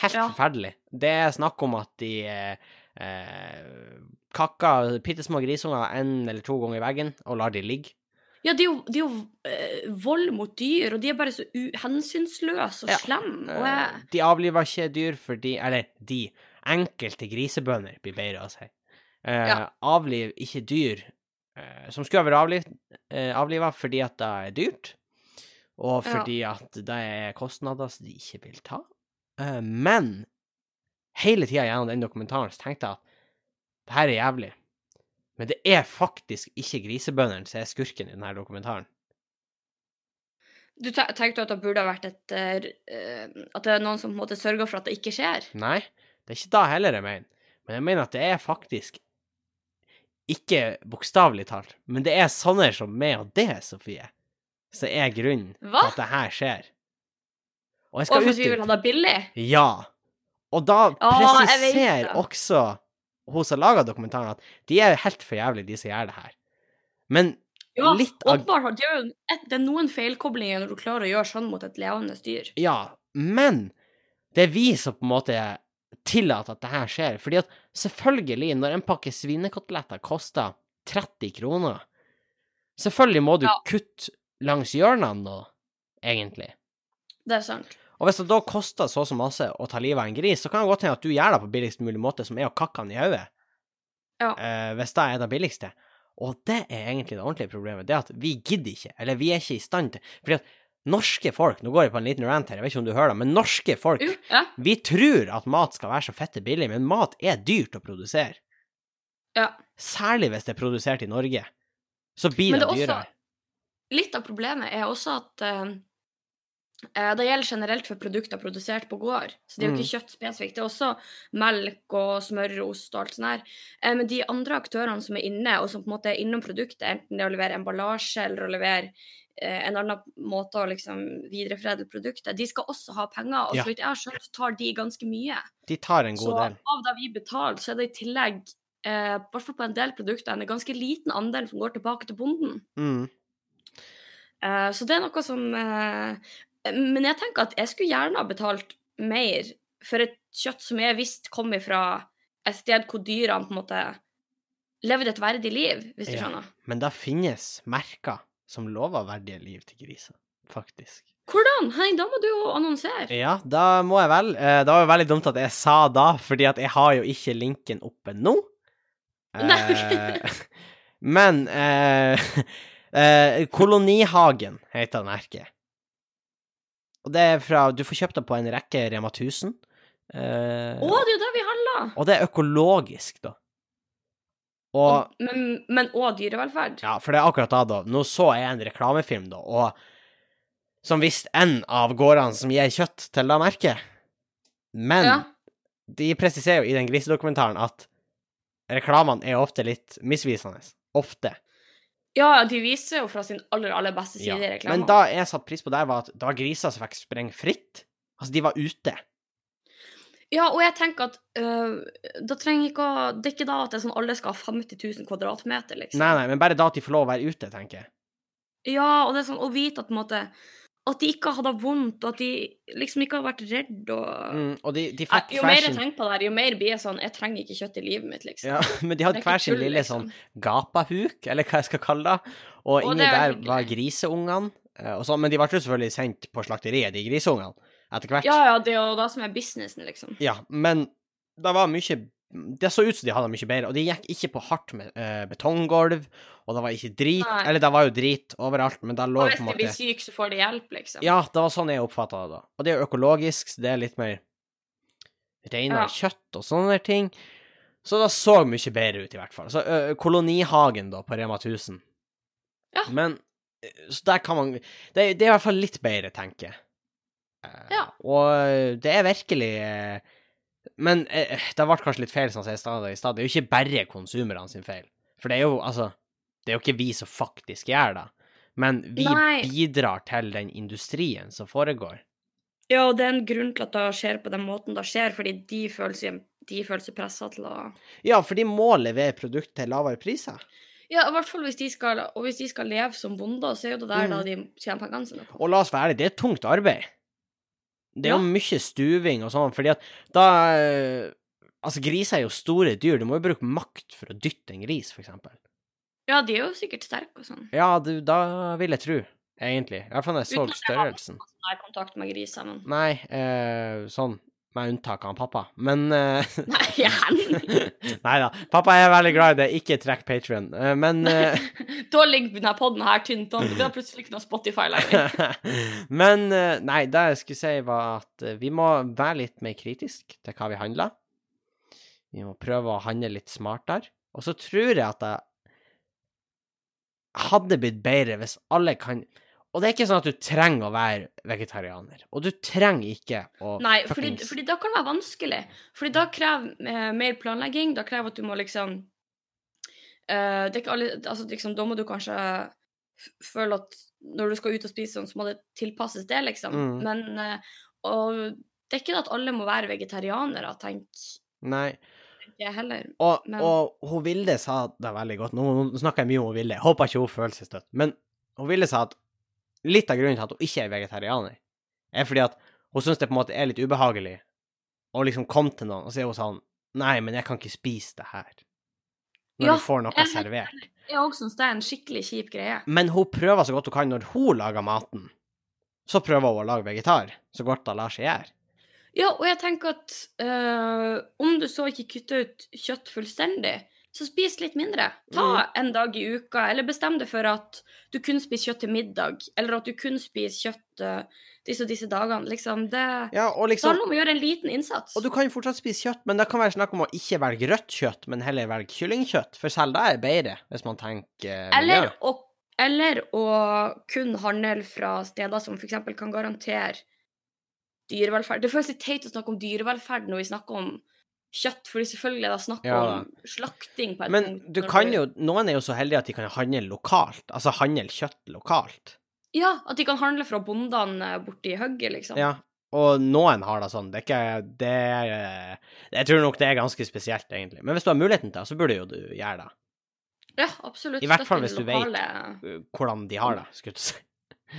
[SPEAKER 1] Helt
[SPEAKER 2] Ja.
[SPEAKER 1] forferdelig. Det er snakk om at de eh, eh, kakker bitte små grisunger én eller to ganger i veggen og lar de ligge.
[SPEAKER 2] Ja, det er jo, det er jo eh, vold mot dyr, og de er bare så u- hensynsløse og
[SPEAKER 1] Ja.
[SPEAKER 2] slemme. Og
[SPEAKER 1] Eh,
[SPEAKER 2] jeg,
[SPEAKER 1] De avliver ikke dyr fordi Eller de. Enkelte grisebønder blir bedre å si. Eh,
[SPEAKER 2] Ja.
[SPEAKER 1] Avliv ikke dyr eh, som skulle ha vært avliv, eh, avliva fordi at det er dyrt, og
[SPEAKER 2] Ja.
[SPEAKER 1] fordi at det er kostnader som de ikke vil ta. Eh, men hele tida gjennom den dokumentaren så tenkte jeg at det her er jævlig. Men det er faktisk ikke grisebøndene som er skurken i denne dokumentaren.
[SPEAKER 2] du te- tenkte at det burde ha vært et eh, eh, At det er noen som på en måte sørger for at det ikke skjer?
[SPEAKER 1] Nei, det er ikke da heller jeg mener. Men jeg mener at det er faktisk ikke bokstavelig talt, men det er sånne som meg og det, Sofie, som er grunnen
[SPEAKER 2] Hva?
[SPEAKER 1] til at det her skjer. Og jeg
[SPEAKER 2] Og
[SPEAKER 1] skal
[SPEAKER 2] for at vi vil
[SPEAKER 1] utdype.
[SPEAKER 2] ha det billig?
[SPEAKER 1] Ja. Og da
[SPEAKER 2] jeg vet
[SPEAKER 1] presiserer
[SPEAKER 2] det.
[SPEAKER 1] også hun som laga dokumentaren, at de er helt for jævlig, de som gjør det her. Men
[SPEAKER 2] Ja,
[SPEAKER 1] litt av
[SPEAKER 2] åpenbart. har- Det er, jo et, det er noen feilkoblinger når du klarer å gjøre sånn mot et levende dyr.
[SPEAKER 1] Ja, men det er vi som på en måte tillater at det her skjer. Fordi at selvfølgelig, når en pakke svinekoteletter koster 30 kroner, selvfølgelig må du
[SPEAKER 2] Ja.
[SPEAKER 1] kutte langs hjørnene nå, egentlig.
[SPEAKER 2] Det er sant.
[SPEAKER 1] Og hvis det da koster så og så masse å ta livet av en gris, så kan det godt hende at du gjør det på billigst mulig måte, som er å kakke den i hodet.
[SPEAKER 2] Ja.
[SPEAKER 1] Eh, hvis det er det billigste. Og det er egentlig det ordentlige problemet, det er at vi gidder ikke, eller vi er ikke i stand til Fordi at norske folk, nå går jeg på en liten rant her, jeg vet ikke om du hører det, men norske folk,
[SPEAKER 2] Jo, ja.
[SPEAKER 1] vi tror at mat skal være så fette billig, men mat er dyrt å produsere.
[SPEAKER 2] Ja.
[SPEAKER 1] Særlig hvis det er produsert i Norge. Så blir
[SPEAKER 2] Men
[SPEAKER 1] det
[SPEAKER 2] det er også-
[SPEAKER 1] dyrere.
[SPEAKER 2] Litt av problemet er også at eh, eh, det gjelder generelt for produkter produsert på gård. Så det er jo
[SPEAKER 1] Mm.
[SPEAKER 2] ikke kjøtt spesifikt. Det er også melk og smør og ost og alt sånt her. Eh, men de andre aktørene som er inne, og som på en måte er innom produktet, enten det er å levere emballasje eller å levere eh, en annen måte å liksom videreforedle produktet, de skal også ha penger. Og
[SPEAKER 1] Ja.
[SPEAKER 2] så vidt jeg har skjønt, så tar de ganske mye.
[SPEAKER 1] De tar en
[SPEAKER 2] Så
[SPEAKER 1] god del.
[SPEAKER 2] av det vi betaler, så er det i tillegg, eh, i hvert fall på en del produkter, en ganske liten andel som går tilbake til bonden.
[SPEAKER 1] Mm.
[SPEAKER 2] Eh, så det er noe som eh, Men jeg tenker at jeg skulle gjerne ha betalt mer for et kjøtt som jeg visste kom fra et sted hvor dyrene på en måte levde et verdig liv, hvis du
[SPEAKER 1] Ja.
[SPEAKER 2] skjønner.
[SPEAKER 1] Men det finnes merker som lover verdige liv til griser, faktisk.
[SPEAKER 2] Hvordan? Henning, da må du jo annonsere.
[SPEAKER 1] Ja, da må jeg vel. Eh, Det var jo veldig dumt at jeg sa da, fordi at jeg har jo ikke linken oppe nå. Eh,
[SPEAKER 2] Nei, *laughs*
[SPEAKER 1] Men eh, eh, Kolonihagen heter den merket. Og det er fra Du får kjøpt det på en rekke Rema 1000. eh,
[SPEAKER 2] Å, det er jo det vi handla!
[SPEAKER 1] Og det er økologisk, da. Og
[SPEAKER 2] Men, men òg dyrevelferd.
[SPEAKER 1] ja, for det er akkurat da, da. Nå så jeg en reklamefilm, da, og som visst en av gårdene som gir kjøtt til det merket. Men
[SPEAKER 2] Ja.
[SPEAKER 1] de presiserer jo i den grisedokumentaren at reklamene er ofte litt misvisende. Ofte.
[SPEAKER 2] ja, de viser jo fra sin aller, aller beste side i reklamen.
[SPEAKER 1] Men da jeg satte pris på der, var at det var griser som fikk sprenge fritt. Altså, de var ute.
[SPEAKER 2] Ja, og jeg tenker at øh, da trenger ikke å Det er ikke da at det er sånn alle skal ha 50 000 kvadratmeter, liksom.
[SPEAKER 1] Nei, nei, men bare da at de får lov å være ute, tenker jeg.
[SPEAKER 2] Ja, og det er sånn å vite at på en måte At de ikke hadde vondt, og at de liksom ikke har vært redd og
[SPEAKER 1] Mm, og de, de
[SPEAKER 2] Nei,
[SPEAKER 1] fikk
[SPEAKER 2] Jo
[SPEAKER 1] hver
[SPEAKER 2] mer jeg
[SPEAKER 1] sin
[SPEAKER 2] tenker på det her, jo mer blir jeg sånn Jeg trenger ikke kjøtt i livet mitt, liksom.
[SPEAKER 1] ja, *laughs* Men de
[SPEAKER 2] Det
[SPEAKER 1] hadde
[SPEAKER 2] er ikke
[SPEAKER 1] hver sin
[SPEAKER 2] tull, liksom.
[SPEAKER 1] lille sånn gapahuk, eller hva jeg skal kalle det. Og
[SPEAKER 2] Å,
[SPEAKER 1] inni
[SPEAKER 2] det er
[SPEAKER 1] der
[SPEAKER 2] hyggelig.
[SPEAKER 1] var griseungene. eh, Og sånn, men de ble jo selvfølgelig sendt på slakteriet, de griseungene, etter hvert.
[SPEAKER 2] Ja, ja, det er jo det som er businessen, liksom.
[SPEAKER 1] Ja, men det var mye Det så ut som de hadde det mye bedre, og de gikk ikke på hardt med eh, betonggulv, og det var ikke drit.
[SPEAKER 2] Nei.
[SPEAKER 1] Eller det var jo drit overalt, men det lå
[SPEAKER 2] Og
[SPEAKER 1] jo på
[SPEAKER 2] hvis
[SPEAKER 1] en
[SPEAKER 2] de blir
[SPEAKER 1] måte
[SPEAKER 2] syke, så får de hjelp, liksom.
[SPEAKER 1] Ja, det var sånn jeg oppfatta det da. Og det er jo økologisk, så det er litt mer reinere
[SPEAKER 2] Ja.
[SPEAKER 1] kjøtt og sånne der ting. Så det så mye bedre ut, i hvert fall. Så ø, Kolonihagen, da, på Rema 1000.
[SPEAKER 2] Ja.
[SPEAKER 1] Men ø, Så der kan man det, det er i hvert fall litt bedre, tenker jeg. Eh,
[SPEAKER 2] Ja.
[SPEAKER 1] Og det er virkelig eh, Men eh, det ble kanskje litt feil, sånn som jeg sa i stad. Det er jo ikke bare konsumerne sin feil. For det er jo, altså Det er jo ikke vi som faktisk gjør det. Men vi
[SPEAKER 2] Nei.
[SPEAKER 1] bidrar til den industrien som foregår.
[SPEAKER 2] Ja, og det er en grunn til at det skjer på den måten det skjer, fordi de føler seg, de føler seg pressa til å
[SPEAKER 1] Ja, for de må levere produkt til lavere priser.
[SPEAKER 2] Ja, i hvert fall hvis de skal Og hvis de skal leve som bonder, så er jo det der
[SPEAKER 1] Mm.
[SPEAKER 2] da de tjener pengene sine på.
[SPEAKER 1] Og la oss være ærlige, det er tungt arbeid. Det er
[SPEAKER 2] Ja.
[SPEAKER 1] jo mye stuving og sånn, fordi at da eh, Altså, griser er jo store dyr, du må jo bruke makt for å dytte en gris, for eksempel.
[SPEAKER 2] Ja, de er jo sikkert sterke og sånn.
[SPEAKER 1] Ja, du, da vil jeg tro, egentlig. I hvert fall når jeg så
[SPEAKER 2] Uten at jeg har
[SPEAKER 1] størrelsen.
[SPEAKER 2] Nei, kontakt med griser,
[SPEAKER 1] *laughs*
[SPEAKER 2] men
[SPEAKER 1] Nei, eh, sånn med unntak av pappa, men eh, *laughs*
[SPEAKER 2] Nei, igjen!
[SPEAKER 1] Nei da. Pappa er veldig glad i det. Ikke trekk Patrion. Men, eh,
[SPEAKER 2] da ligger denne podden her tynt an. Det blir plutselig ikke noe Spotify
[SPEAKER 1] *laughs*
[SPEAKER 2] lenger.
[SPEAKER 1] men eh, Nei, det jeg skulle si, var at eh, vi må være litt mer kritisk til hva vi handler. Vi må prøve å handle litt smartere. Og så tror jeg at det hadde blitt bedre hvis alle kan Og det er ikke sånn at du trenger å være vegetarianer. Og du trenger ikke å
[SPEAKER 2] Nei, fordi,
[SPEAKER 1] fuckings-
[SPEAKER 2] fordi da kan det være vanskelig. Fordi da krever eh, mer planlegging. Da krever at du må liksom eh, det er ikke alle, altså liksom, Da må du kanskje f- føle at når du skal ut og spise sånn, så må det tilpasses det, liksom.
[SPEAKER 1] Mm.
[SPEAKER 2] Men eh, og det er ikke det at alle må være vegetarianere, tenker
[SPEAKER 1] Nei.
[SPEAKER 2] jeg heller.
[SPEAKER 1] Og,
[SPEAKER 2] Men-
[SPEAKER 1] og hun Vilde sa det veldig godt. Nå nå snakker jeg mye om hun Vilde. Jeg håper ikke hun føler seg støtt. Men hun Vilde sa at litt av grunnen til at hun ikke er vegetarianer, er fordi at hun syns det på en måte er litt ubehagelig å liksom komme til noen, og så er hun sånn Nei, men jeg kan ikke spise det her. Når
[SPEAKER 2] Ja,
[SPEAKER 1] du får noe
[SPEAKER 2] jeg-
[SPEAKER 1] servert.
[SPEAKER 2] Jeg òg syns det er en skikkelig kjip greie.
[SPEAKER 1] Men hun prøver så godt hun kan når hun lager maten. Så prøver hun å lage vegetar, så godt det lar seg gjøre.
[SPEAKER 2] Ja, og jeg tenker at eh, om du så ikke kutter ut kjøtt fullstendig, så spis litt mindre. Ta
[SPEAKER 1] Mm.
[SPEAKER 2] en dag i uka, eller bestem deg for at du kun spiser kjøtt til middag, eller at du kun spiser kjøtt eh, disse og disse dagene. Liksom, det,
[SPEAKER 1] Ja, og
[SPEAKER 2] det
[SPEAKER 1] liksom
[SPEAKER 2] handler om å gjøre en liten innsats.
[SPEAKER 1] Og du kan jo fortsatt spise kjøtt, men det kan være snakk om å ikke velge rødt kjøtt, men heller velge kyllingkjøtt, for selv det er bedre, hvis man tenker eh,
[SPEAKER 2] eller,
[SPEAKER 1] miljø.
[SPEAKER 2] å, eller å kun handle fra steder som f.eks. kan garantere dyrevelferd. Det føles litt teit å snakke om dyrevelferd når vi snakker om kjøtt, fordi selvfølgelig er det snakk
[SPEAKER 1] Ja da.
[SPEAKER 2] om slakting på et
[SPEAKER 1] Men
[SPEAKER 2] punkt.
[SPEAKER 1] du
[SPEAKER 2] når
[SPEAKER 1] kan jo Noen er jo så heldige at de kan handle lokalt, altså handle kjøtt lokalt.
[SPEAKER 2] Ja, at de kan handle fra bondene borti hugget, liksom.
[SPEAKER 1] Ja. Og noen har det sånn. Det er ikke Det er Jeg tror nok det er ganske spesielt, egentlig. Men hvis du har muligheten til det, så burde jo du gjøre det.
[SPEAKER 2] Ja, absolutt.
[SPEAKER 1] I hvert fall
[SPEAKER 2] Støtte
[SPEAKER 1] hvis du
[SPEAKER 2] det
[SPEAKER 1] vet.
[SPEAKER 2] lokale-
[SPEAKER 1] Hvordan de har det, skulle jeg til å si.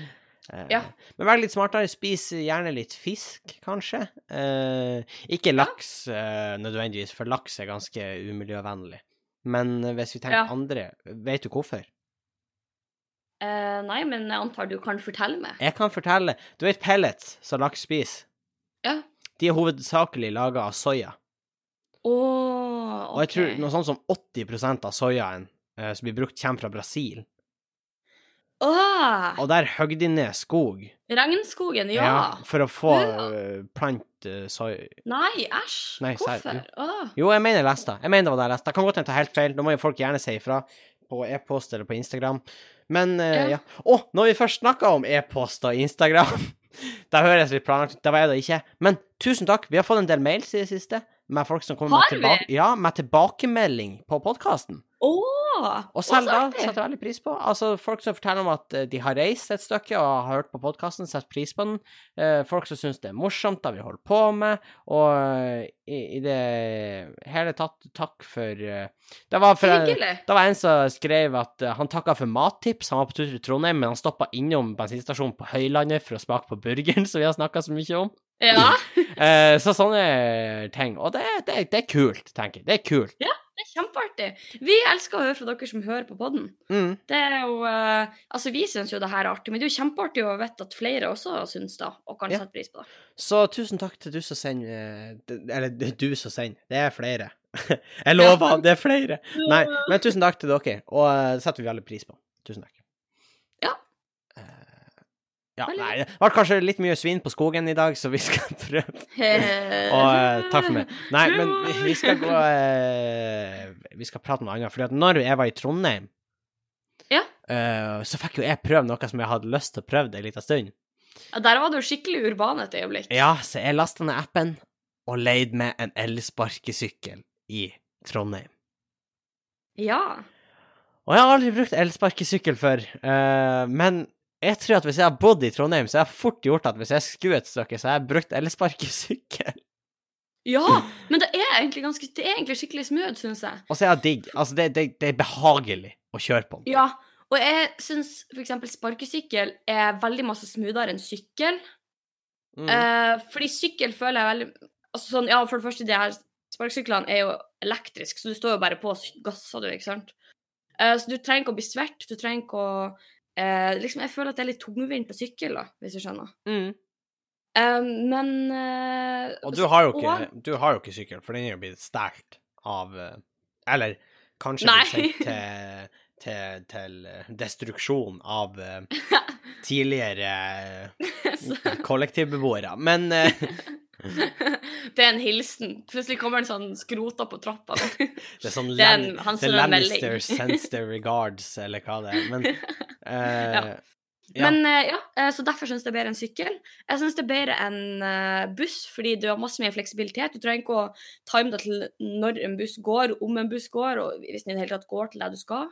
[SPEAKER 1] *laughs* Eh,
[SPEAKER 2] Ja.
[SPEAKER 1] Men vær litt smartere. Spis gjerne litt fisk, kanskje. Eh, ikke laks eh, nødvendigvis, for laks er ganske umiljøvennlig. Men eh, hvis vi tenker
[SPEAKER 2] Ja.
[SPEAKER 1] andre, vet du hvorfor?
[SPEAKER 2] Eh, nei, men jeg antar du kan fortelle meg.
[SPEAKER 1] Jeg kan fortelle. Du vet pellets som laks spiser?
[SPEAKER 2] Ja.
[SPEAKER 1] De er hovedsakelig laga av soya.
[SPEAKER 2] Å,
[SPEAKER 1] Og jeg tror noe sånt som 80 av soyaen eh, som blir brukt, kommer fra Brasil.
[SPEAKER 2] Åh,
[SPEAKER 1] Og der hogg de ned skog
[SPEAKER 2] regnskogen, ja.
[SPEAKER 1] for å få
[SPEAKER 2] Ja.
[SPEAKER 1] eh, plante soya
[SPEAKER 2] Nei, æsj.
[SPEAKER 1] Nei, serr,
[SPEAKER 2] Hvorfor? Åh.
[SPEAKER 1] Jo, jeg mener jeg leste det. Jeg mener det var det jeg leste. Det kan godt hende jeg tar helt feil. Da må jo folk gjerne si ifra på e-post eller på Instagram. Men eh, ja.
[SPEAKER 2] Ja.
[SPEAKER 1] Å, når vi først snakka om e-post og Instagram *laughs* Da høres litt planlagt ut. Det var jeg da ikke. Men tusen takk. Vi har fått en del mails i det siste med folk som kommer
[SPEAKER 2] Har
[SPEAKER 1] med,
[SPEAKER 2] vi?
[SPEAKER 1] tilbake, ja, med tilbakemelding på podkasten.
[SPEAKER 2] Åh,
[SPEAKER 1] Og selv
[SPEAKER 2] så
[SPEAKER 1] da
[SPEAKER 2] artig.
[SPEAKER 1] setter jeg veldig pris på. Altså, folk som forteller om at eh, de har reist et stykke og har hørt på podkasten, setter pris på den. Eh, folk som syns det er morsomt, det vi holder på med. Og eh, i, i det hele tatt, takk for eh, Det var for
[SPEAKER 2] Hyggelig.
[SPEAKER 1] det var en som skrev at eh, han takka for mattips. Han var på tur til Trondheim, men han stoppa innom bensinstasjonen på Høylandet for å smake på burgeren *laughs* som vi har snakka så mye om.
[SPEAKER 2] Ja,
[SPEAKER 1] Eh, så sånne ting. Og det, det, det er kult, tenker jeg. Det er kult.
[SPEAKER 2] det er kjempeartig. Vi elsker å høre fra dere som hører på podden.
[SPEAKER 1] Mm.
[SPEAKER 2] Det er jo, eh, altså Vi syns jo det her er artig, men det er jo kjempeartig å vite at flere også syns det, og kan
[SPEAKER 1] Ja.
[SPEAKER 2] sette pris på det.
[SPEAKER 1] Så tusen takk til du som sender eh, d- Eller det er du som sender. Det er flere. *laughs* Jeg lover, det er
[SPEAKER 2] *laughs*
[SPEAKER 1] flere. Nei, men tusen takk til dere, og eh, det setter vi veldig pris på. Tusen takk.
[SPEAKER 2] Ja.
[SPEAKER 1] Eh, Ja,
[SPEAKER 2] Veldig
[SPEAKER 1] nei, det ble kanskje litt mye svin på skogen i dag, så vi skal *laughs* prøve
[SPEAKER 2] Hehehe.
[SPEAKER 1] å eh, Takk for meg. Nei, men vi- vi skal gå eh, Vi skal prate om noe annet. Fordi at når jeg var i Trondheim,
[SPEAKER 2] Ja.
[SPEAKER 1] eh, så fikk jo jeg prøve noe som jeg hadde lyst til å prøve en liten stund.
[SPEAKER 2] Ja, der var du skikkelig urban et øyeblikk.
[SPEAKER 1] Ja, så jeg lasta ned appen og leid meg en elsparkesykkel i Trondheim.
[SPEAKER 2] Ja.
[SPEAKER 1] Og jeg har aldri brukt elsparkesykkel før, eh, men jeg tror at hvis jeg har bodd i Trondheim, så har jeg fort gjort at hvis jeg skulle et stykke, så har jeg brukt elsparkesykkel. *laughs*
[SPEAKER 2] Ja, men det er egentlig, ganske, det er egentlig skikkelig smooth, syns jeg.
[SPEAKER 1] Og så er det digg. Altså, det, det, det er behagelig å kjøre på.
[SPEAKER 2] Ja, og jeg syns f.eks. sparkesykkel er veldig masse smoothere enn sykkel.
[SPEAKER 1] Mm.
[SPEAKER 2] Eh, fordi sykkel føler jeg veldig altså sånn, Ja, for det første, de her sparkesyklene er jo elektriske, så du står jo bare på gass, sa du, ikke sant? Eh, så du trenger ikke å bli svett. Du trenger ikke å eh, liksom, Jeg føler at det er litt tungvint på sykkel, da, hvis du skjønner.
[SPEAKER 1] Mm.
[SPEAKER 2] Eh, men eh, *laughs*
[SPEAKER 1] Og du har jo
[SPEAKER 2] og-
[SPEAKER 1] ikke, du har jo ikke sykkel, for den er jo blitt stjålet av eh, Eller kanskje
[SPEAKER 2] Nei.
[SPEAKER 1] blitt sendt
[SPEAKER 2] *laughs*
[SPEAKER 1] til, til, til eh, destruksjon av eh, tidligere eh, *laughs* kollektivbeboere. Men eh,
[SPEAKER 2] *laughs* det er en hilsen. Plutselig kommer en sånn skrota på
[SPEAKER 1] *laughs*
[SPEAKER 2] trappa.
[SPEAKER 1] det er sånn
[SPEAKER 2] *laughs* Det er
[SPEAKER 1] Lan
[SPEAKER 2] en, han
[SPEAKER 1] The
[SPEAKER 2] sender en melding.
[SPEAKER 1] Lannister sends their regards, eller hva det er.
[SPEAKER 2] *laughs*
[SPEAKER 1] Men eh, ja.
[SPEAKER 2] Men eh, ja, eh, så derfor syns jeg det er bedre enn sykkel. Jeg syns det er bedre enn eh, buss, fordi du har masse mer fleksibilitet. Du trenger ikke å time deg til når en buss går, om en buss går, og hvis den i det hele tatt går til der du skal.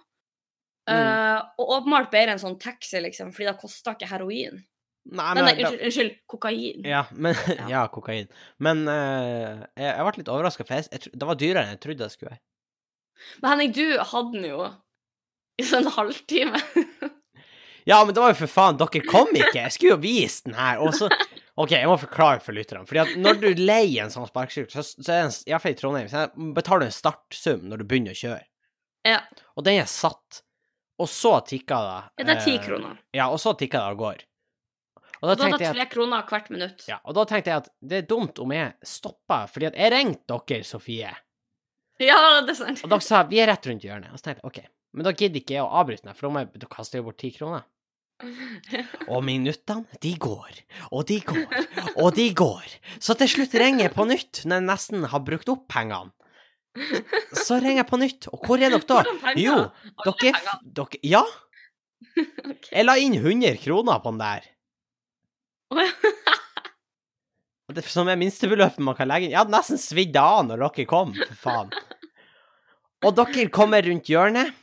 [SPEAKER 1] Mm.
[SPEAKER 2] Eh, og åpenbart bedre enn sånn taxi, liksom, fordi da koster ikke heroin.
[SPEAKER 1] Nei,
[SPEAKER 2] Nei, nei,
[SPEAKER 1] det-
[SPEAKER 2] unnskyld, unnskyld kokain.
[SPEAKER 1] Ja, men,
[SPEAKER 2] Ja.
[SPEAKER 1] *laughs* ja, kokain. Men eh, jeg, jeg ble litt overraska, for jeg, jeg, tro- det var dyrere enn jeg trodde det skulle være.
[SPEAKER 2] Men Henning, du hadde den jo i sånn halvtime.
[SPEAKER 1] Ja, men det var jo for faen, dere kom ikke! Jeg skulle jo vise den her! Og så OK, jeg må forklare for lytterne. Fordi at når du leier en sånn sparkesykkel, så, så er den iallfall i Trondheim, så er- betaler du en startsum når du begynner å kjøre.
[SPEAKER 2] Ja.
[SPEAKER 1] Og den er satt. Og så tikka det.
[SPEAKER 2] Ja, det er ti
[SPEAKER 1] eh,
[SPEAKER 2] kroner.
[SPEAKER 1] Ja, og så tikka det av gårde. Og da
[SPEAKER 2] Og da er
[SPEAKER 1] tenkte
[SPEAKER 2] det
[SPEAKER 1] jeg at
[SPEAKER 2] tre kroner hvert minutt.
[SPEAKER 1] ja, og da tenkte jeg at det er dumt om jeg stopper, fordi at jeg ringte dere, Sofie.
[SPEAKER 2] Ja, det er sant.
[SPEAKER 1] Og dere sa vi er rett rundt hjørnet. Og så tenkte jeg OK, men da gidder ikke jeg å avbryte meg, for da må jeg, da kaster jeg bort ti kroner. *laughs* Og minuttene, de går, og de går, og de går. Så til slutt ringer jeg på nytt når jeg nesten har brukt opp *laughs* pengene. Så ringer jeg på nytt, og hvor er dere da?
[SPEAKER 2] Hvordan penger?
[SPEAKER 1] Jo,
[SPEAKER 2] Alle
[SPEAKER 1] dere,
[SPEAKER 2] penger.
[SPEAKER 1] f- dere Ja,
[SPEAKER 2] *laughs* Ok.
[SPEAKER 1] jeg la inn 100 kroner på den der.
[SPEAKER 2] Å, ja.
[SPEAKER 1] Og Det som er minstebeløpet man kan legge inn. Jeg hadde nesten svidd av når dere kom, for faen. Og dere kommer rundt hjørnet.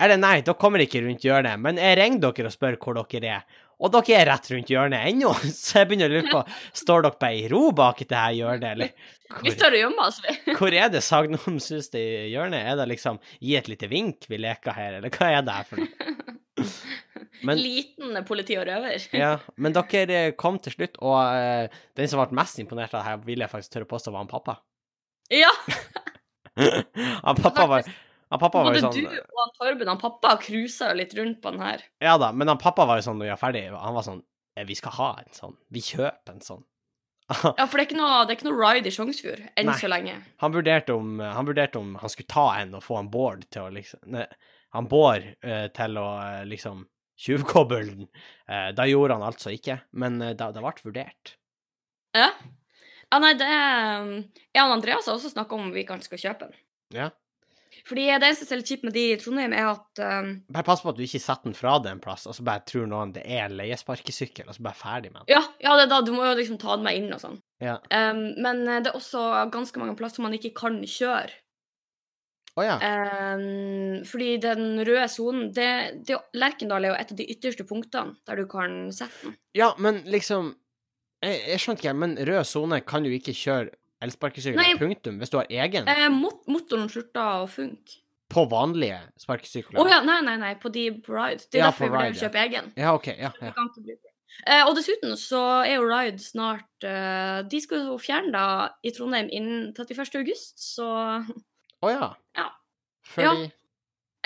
[SPEAKER 1] Eller nei, dere kommer ikke rundt hjørnet, men jeg ringer dere og spør hvor dere er. Og dere er rett rundt hjørnet ennå, *laughs* så jeg begynner å lure på Står dere på ei ro bak det her hjørnet, eller?
[SPEAKER 2] Vi
[SPEAKER 1] Hvor,
[SPEAKER 2] står og gjemmer oss, vi.
[SPEAKER 1] hvor er det sagnomsuste hjørnet? Er det liksom Gi et lite vink, vi leker her, eller hva er det her for noe?
[SPEAKER 2] *laughs*
[SPEAKER 1] Men
[SPEAKER 2] Liten politi og røver.
[SPEAKER 1] ja, men dere eh, kom til slutt, og eh, den som ble mest imponert av det her, vil jeg faktisk tørre å påstå var han pappa.
[SPEAKER 2] Ja,
[SPEAKER 1] han pappa var han pappa var
[SPEAKER 2] både
[SPEAKER 1] jo sånn
[SPEAKER 2] du og han Torben han pappa cruisa jo litt rundt på den her.
[SPEAKER 1] Ja da, men han pappa var jo sånn når vi var ferdig, han var sånn «Eh, Vi skal ha en sånn. Vi kjøper en sånn.
[SPEAKER 2] Ja, for det er ikke noe, det er ikke noe ride i Sjongsfjord enn
[SPEAKER 1] Nei.
[SPEAKER 2] så lenge.
[SPEAKER 1] Han vurderte om han, vurderte om han skulle ta en og få han Bård til å liksom Nei, han Bård eh, til å eh, liksom tjuvkoble den. Eh, da gjorde han altså ikke, men eh, da- det ble vurdert.
[SPEAKER 2] Ja. Ja, nei, det um, Jeg og Andreas har også snakka om vi kanskje skal kjøpe den.
[SPEAKER 1] Ja.
[SPEAKER 2] Fordi det eneste som er litt kjipt med de i Trondheim, er at um,
[SPEAKER 1] Bare pass på at du ikke setter den fra deg en plass, og så bare tror noen det er en leiesparkesykkel, og så bare ferdig med den.
[SPEAKER 2] ja, ja, det er da du må jo liksom ta den med inn og sånn.
[SPEAKER 1] Ja.
[SPEAKER 2] Um, men eh, det er også ganske mange plasser man ikke kan kjøre.
[SPEAKER 1] Å ja.
[SPEAKER 2] Um, fordi den røde sonen det, det, Lerkendal er jo et av de ytterste punktene der du kan sette den.
[SPEAKER 1] Ja, men liksom Jeg, jeg skjønte ikke, men rød sone kan du ikke kjøre
[SPEAKER 2] Nei.
[SPEAKER 1] elsparkesykler, punktum, hvis du har egen
[SPEAKER 2] Eh, mot, motoren slutta å funke.
[SPEAKER 1] på vanlige
[SPEAKER 2] Å
[SPEAKER 1] sparkesykler.
[SPEAKER 2] ja, nei, nei, nei, på de på Ride. Det er
[SPEAKER 1] Ja, på
[SPEAKER 2] derfor vi vurderer å
[SPEAKER 1] Ride, ja.
[SPEAKER 2] kjøpe egen.
[SPEAKER 1] Ja, OK. Ja,
[SPEAKER 2] Du
[SPEAKER 1] ja.
[SPEAKER 2] kan ikke bruke den. Eh, og dessuten så er jo Ride snart eh, De skal jo fjerne da i Trondheim innen 31. august, så
[SPEAKER 1] Å ja.
[SPEAKER 2] Ja.
[SPEAKER 1] Fordi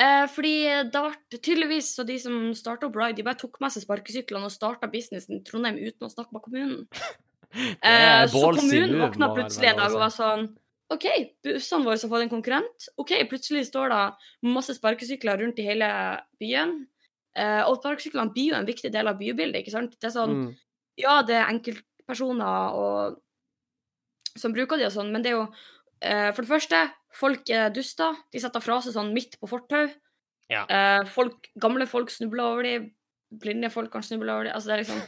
[SPEAKER 2] eh, Fordi da ble tydeligvis så de som starta opp Ride, de bare tok med seg sparkesyklene og starta businessen i Trondheim uten å snakke med kommunen.
[SPEAKER 1] Det er
[SPEAKER 2] Eh, så
[SPEAKER 1] ballsy
[SPEAKER 2] kommunen
[SPEAKER 1] move,
[SPEAKER 2] våkna
[SPEAKER 1] må vel
[SPEAKER 2] plutselig en
[SPEAKER 1] være lov å
[SPEAKER 2] dag og var sånn OK, bussene våre har fått en konkurrent. OK, plutselig står det masse sparkesykler rundt i hele byen. Eh, og sparkesyklene blir jo en viktig del av bybildet, ikke sant? Det er sånn,
[SPEAKER 1] Mm.
[SPEAKER 2] Ja, det er enkeltpersoner og, som bruker de og sånn, men det er jo eh, For det første, folk er duster. De setter fra seg sånn midt på fortau.
[SPEAKER 1] Ja.
[SPEAKER 2] Eh, folk, gamle folk snubler over de, blinde folk kan snuble over de. Altså, det
[SPEAKER 1] *laughs*
[SPEAKER 2] er liksom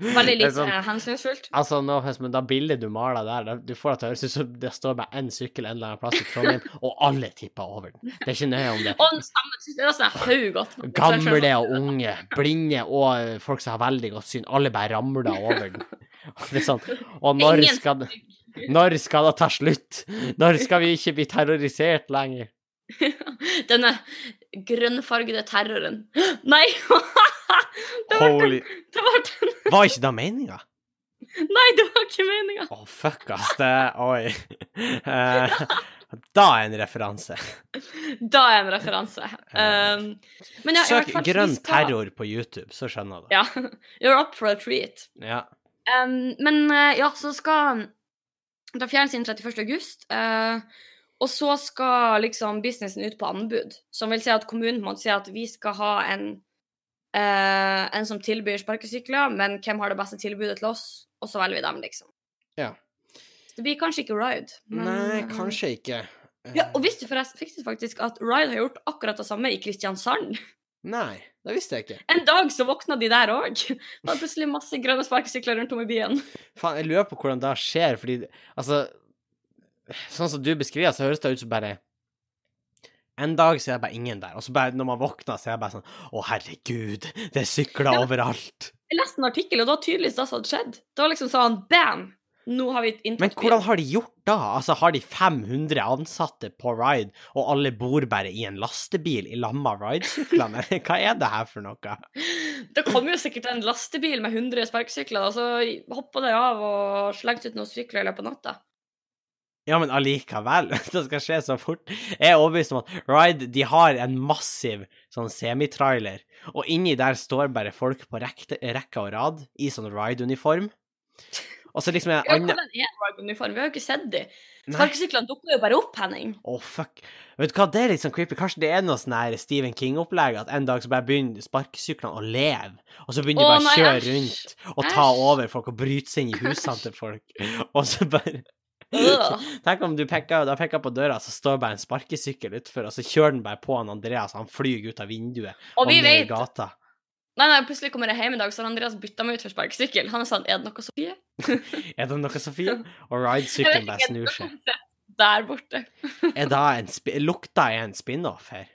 [SPEAKER 2] veldig
[SPEAKER 1] Det er
[SPEAKER 2] lite
[SPEAKER 1] sånn-
[SPEAKER 2] eh, hensynsfullt.
[SPEAKER 1] Altså, no, offense, men da bildet du maler der, da- du får det til å høres ut som det står bare én sykkel en eller annen plass i
[SPEAKER 2] *laughs*
[SPEAKER 1] Trondheim, og alle tipper over den. Det er ikke nøye om det
[SPEAKER 2] Og den samme synes jeg, det er sånn en haug
[SPEAKER 1] *laughs*
[SPEAKER 2] godt.
[SPEAKER 1] Gamle og unge, blinde og eh, folk som har veldig godt syn. Alle bare ramler over
[SPEAKER 2] *laughs*
[SPEAKER 1] den. Og Det er sånn, og når
[SPEAKER 2] Ingen
[SPEAKER 1] skal, det- når skal det ta slutt? Når skal vi ikke bli terrorisert lenger?
[SPEAKER 2] Denne grønnfargede terroren. *gasps* Nei! *laughs* det var
[SPEAKER 1] Holy
[SPEAKER 2] det var den.
[SPEAKER 1] Var ikke det meninga?
[SPEAKER 2] Nei, det var ikke meninga.
[SPEAKER 1] Å, fuck, ass. Det Oi. Eh, da er en referanse.
[SPEAKER 2] Da er en referanse. Um, men ja, i
[SPEAKER 1] Søk
[SPEAKER 2] hvert fall, så vi
[SPEAKER 1] 'grønn
[SPEAKER 2] skal-
[SPEAKER 1] terror' på YouTube, så skjønner du.
[SPEAKER 2] Ja. *laughs* You're up for a treat.
[SPEAKER 1] Ja.
[SPEAKER 2] Um, men eh, ja, så skal Da fjernes innen 31. august. eh, og så skal liksom businessen ut på anbud, som vil si at kommunen må si at vi skal ha en eh, en som tilbyr sparkesykler, men hvem har det beste tilbudet til oss? Og så velger vi dem, liksom.
[SPEAKER 1] Ja.
[SPEAKER 2] Så Det blir kanskje ikke Ride. men,
[SPEAKER 1] Nei,
[SPEAKER 2] eh,
[SPEAKER 1] kanskje ikke. Eh,
[SPEAKER 2] Ja, og visste du forresten fikk du faktisk at Ride har gjort akkurat det samme i Kristiansand? *laughs*
[SPEAKER 1] Eh, Nei, det visste jeg ikke.
[SPEAKER 2] En dag så våkna de der òg. Var plutselig masse grønne sparkesykler rundt om i byen.
[SPEAKER 1] Faen, jeg lurer på hvordan det skjer, fordi det- Altså Sånn som du beskriver, så høres det ut som bare En dag så er det bare ingen der, og så bare når man våkner, så er det bare sånn Å, herregud, det er sykler
[SPEAKER 2] Ja, men- *laughs*
[SPEAKER 1] overalt.
[SPEAKER 2] Jeg leste en artikkel, og det var tydeligvis det som hadde skjedd. Det var liksom sånn bam! Nå har vi inntatt
[SPEAKER 1] Men hvordan har de gjort da? Altså, har de 500 ansatte på Ride, og alle bor bare i en lastebil i lamma ridesyklene? *laughs* Eller Hva er det her for noe?
[SPEAKER 2] byen. Det kom jo sikkert en lastebil med 100 sparkesykler, og så hoppa de av og slengte ut noen sykler i løpet av natta.
[SPEAKER 1] Ja, men allikevel, *laughs* det skal skje så fort. Jeg er overbevist om at Ride, de har en massiv sånn semitrailer, og inni der står bare folk på rekte, rekka og rad, i sånn Ride-uniform. Og så liksom er
[SPEAKER 2] Ja,
[SPEAKER 1] det andre...
[SPEAKER 2] hvordan er Rag-uniform? Vi har jo ikke sett de.
[SPEAKER 1] Nei.
[SPEAKER 2] Sparkesyklene dukker jo bare opp, Henning.
[SPEAKER 1] Å, fuck. Vet du hva, det er litt sånn creepy. Kanskje det er noe sånn her Stephen King-opplegg, at en dag så bare begynner sparkesyklene å leve, og så begynner de
[SPEAKER 2] Å,
[SPEAKER 1] bare å
[SPEAKER 2] nei,
[SPEAKER 1] kjøre
[SPEAKER 2] æsj.
[SPEAKER 1] rundt og ta
[SPEAKER 2] Æsj.
[SPEAKER 1] over folk og bryte seg inn i husene til
[SPEAKER 2] *laughs*
[SPEAKER 1] folk, og så bare
[SPEAKER 2] Øh.
[SPEAKER 1] Tenk om du peker, da peker på døra, så står bare en sparkesykkel utfor, og så kjører den bare på han Andreas, han flyr ut av vinduet
[SPEAKER 2] Og vi
[SPEAKER 1] ned i
[SPEAKER 2] vet
[SPEAKER 1] gata.
[SPEAKER 2] Nei, nei, plutselig kommer jeg hjem i dag, så har Andreas bytta meg ut for sparkesykkel. Han er sånn Er det noe Sofie?
[SPEAKER 1] Er det noe, Sofie?
[SPEAKER 2] *laughs*
[SPEAKER 1] Og
[SPEAKER 2] Jeg vet
[SPEAKER 1] ridesykkelen bare
[SPEAKER 2] ikke,
[SPEAKER 1] snur seg.
[SPEAKER 2] Der borte.
[SPEAKER 1] Er da en sp lukta er en spin-off
[SPEAKER 2] *laughs*
[SPEAKER 1] her?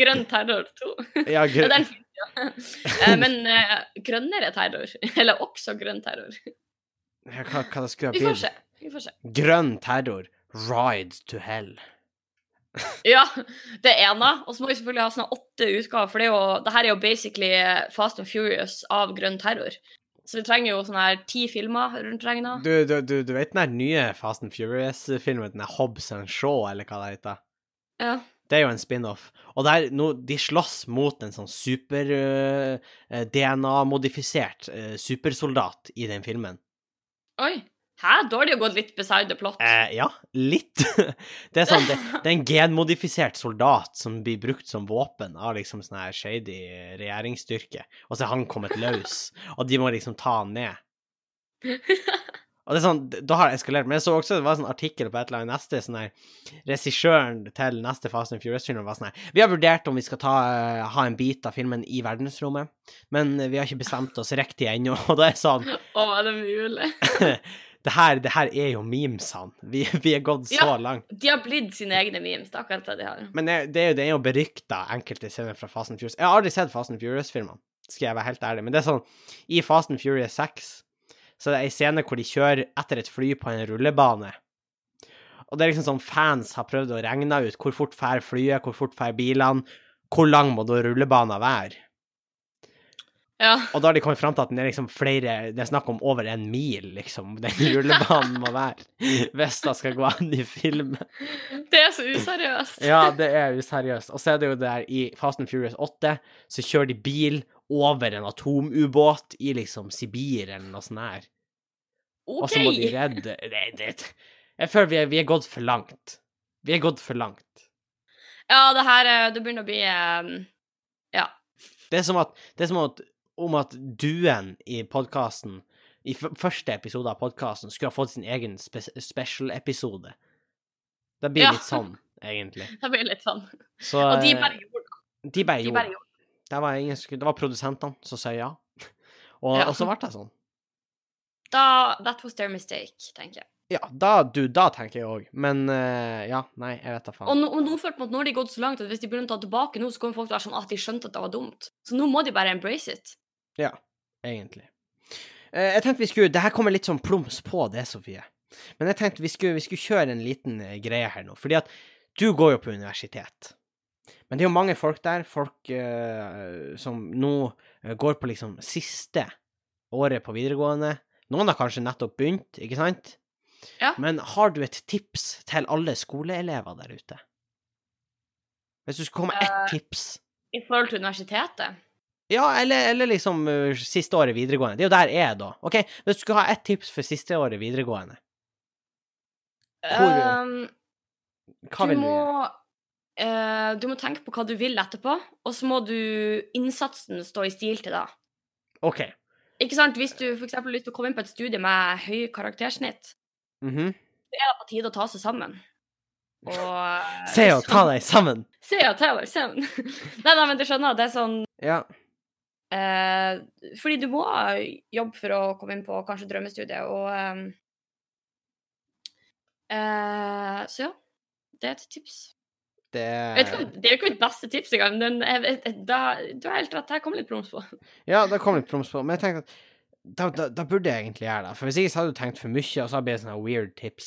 [SPEAKER 2] Grønn terror 2.
[SPEAKER 1] Ja,
[SPEAKER 2] Ja, *laughs*
[SPEAKER 1] gr
[SPEAKER 2] den finnes jo. Eh, Men eh, grønnere terror. *laughs* Eller også grønn terror.
[SPEAKER 1] hva, hva det skulle ha
[SPEAKER 2] Vi får
[SPEAKER 1] blitt?
[SPEAKER 2] se. Vi får se.
[SPEAKER 1] Grønn terror. Ride to hell.
[SPEAKER 2] Ja, det ene. Og så må vi selvfølgelig ha sånne åtte utgaver, for det, er jo, det her er jo basically Fast and Furious av grønn terror. Så vi trenger jo sånne her ti filmer rundt regna.
[SPEAKER 1] Du, du, du, du vet den der nye Fast and Furious-filmen, den der Hobbs and Shaw, eller hva det heter?
[SPEAKER 2] Ja.
[SPEAKER 1] Det er jo en spin-off. Og der, nå, de slåss mot en sånn eh, super-DNA-modifisert eh, supersoldat i den filmen.
[SPEAKER 2] Oi. Hæ? Da har de jo gått litt beside the plot.
[SPEAKER 1] Eh, ja, litt. *laughs* det er sånn, det, det er en genmodifisert soldat som blir brukt som våpen av liksom sånn her shady regjeringsstyrke, og så er han kommet løs, og de må liksom ta han ned. Og det er sånn, Da har det eskalert. Men jeg så også det var en sånn artikkel på et eller annet neste sånn her, Regissøren til neste Fast and Furious-film var sånn her Vi har vurdert om vi skal ta, eh, ha en bit av filmen i verdensrommet, men vi har ikke bestemt oss riktig ennå. *laughs* Og da er jeg sånn
[SPEAKER 2] Å, er det mulig?
[SPEAKER 1] det her, det her er jo memesene. Vi, vi er gått så
[SPEAKER 2] Ja.
[SPEAKER 1] langt.
[SPEAKER 2] De har blitt sine egne memes. Det er akkurat det de har.
[SPEAKER 1] Men det, det er jo, det er jo berykta enkelte scener fra Fast and Furious. Jeg har aldri sett Fast and Furious-filmene, skal jeg være helt ærlig. Men det er sånn, i Fast and Furious 6 så det er ei scene hvor de kjører etter et fly på en rullebane. Og det er liksom sånn fans har prøvd å regne ut hvor fort fær flyet, hvor fort fær bilene, hvor lang må da rullebanen være?
[SPEAKER 2] Ja.
[SPEAKER 1] Og da har de kommet fram til at den er liksom flere Det er snakk om over en mil, liksom. Den julebanen må være. Hvis det skal gå an i film.
[SPEAKER 2] Det er så useriøst.
[SPEAKER 1] Ja, det er useriøst. Og så er det jo der i Fast and Furious 8, så kjører de bil over en atomubåt i liksom Sibir eller noe sånt her. Og
[SPEAKER 2] OK.
[SPEAKER 1] så må de redde det, det. Jeg føler vi er, vi er gått for langt. Vi er gått for langt.
[SPEAKER 2] Ja, det her eh, Det begynner å bli eh, *laughs*
[SPEAKER 1] Det er som at, det er som at, om at duen i podkasten, i f første episode av podkasten, skulle ha fått sin egen spe special-episode. Det blir
[SPEAKER 2] Ja.
[SPEAKER 1] litt sånn, egentlig.
[SPEAKER 2] Det blir litt sånn.
[SPEAKER 1] Så
[SPEAKER 2] Og de
[SPEAKER 1] eh,
[SPEAKER 2] bare gjorde det.
[SPEAKER 1] de bare
[SPEAKER 2] De
[SPEAKER 1] gjorde
[SPEAKER 2] bare
[SPEAKER 1] det.
[SPEAKER 2] gjorde det.
[SPEAKER 1] Det var, ingen, som- det var produsentene som sa ja. Og,
[SPEAKER 2] Ja.
[SPEAKER 1] og så ble det sånn.
[SPEAKER 2] Da, that was their mistake, tenker jeg.
[SPEAKER 1] Ja, da, du, da tenker jeg òg. Men eh, ja, nei, jeg vet da faen.
[SPEAKER 2] Og nå, og nå følte man at nå har de gått så langt at hvis de begynner å ta tilbake nå, så kommer folk til å være sånn at de skjønte at det var dumt. Så nå må de bare embrace it.
[SPEAKER 1] egentlig. Eh, jeg tenkte vi skulle Det her kommer litt sånn plums på det, Sofie. Men jeg tenkte vi skulle, vi skulle kjøre en liten eh, greie her nå. Fordi at du går jo på universitet. Men det er jo mange folk der, folk eh, som nå eh, går på liksom siste året på videregående, Noen har kanskje nettopp begynt, ikke sant?
[SPEAKER 2] Ja.
[SPEAKER 1] Men har du et tips til alle skoleelever der ute? Hvis du skulle komme med ett tips
[SPEAKER 2] I forhold til universitetet?
[SPEAKER 1] Ja, eller, eller liksom uh, siste året videregående. Det er jo der jeg er, da. OK, hvis du skulle ha ett tips for siste året videregående, Hvor-
[SPEAKER 2] Ehm,
[SPEAKER 1] hva vil
[SPEAKER 2] du
[SPEAKER 1] du
[SPEAKER 2] må,
[SPEAKER 1] gjøre?
[SPEAKER 2] eh, du må tenke på hva du vil etterpå, og så må du innsatsen stå i stil til det.
[SPEAKER 1] OK.
[SPEAKER 2] Ikke sant? Hvis du for eksempel har lyst til å komme inn på et studie med høy karaktersnitt,
[SPEAKER 1] mhm.
[SPEAKER 2] så er det på tide å ta seg sammen. Og
[SPEAKER 1] *laughs*
[SPEAKER 2] eh,
[SPEAKER 1] Se og ta
[SPEAKER 2] *laughs* sånn-
[SPEAKER 1] deg sammen!
[SPEAKER 2] Se og ta deg sammen. *laughs* nei, nei, men du skjønner, det er sånn
[SPEAKER 1] Ja.
[SPEAKER 2] eh, Fordi du må jobbe for å komme inn på kanskje drømmestudiet, og eh, eh, Så ja. Det er et tips.
[SPEAKER 1] Det
[SPEAKER 2] Jeg vet ikke, om- det er jo ikke mitt beste tips engang, men jeg vet, da, du har helt rett, her kom litt proms på.
[SPEAKER 1] Ja, da kom litt proms på. Men jeg tenkte at da, da, da burde jeg egentlig gjøre det. For hvis ikke så hadde du tenkt for mye, og så hadde det blitt sånne weird tips.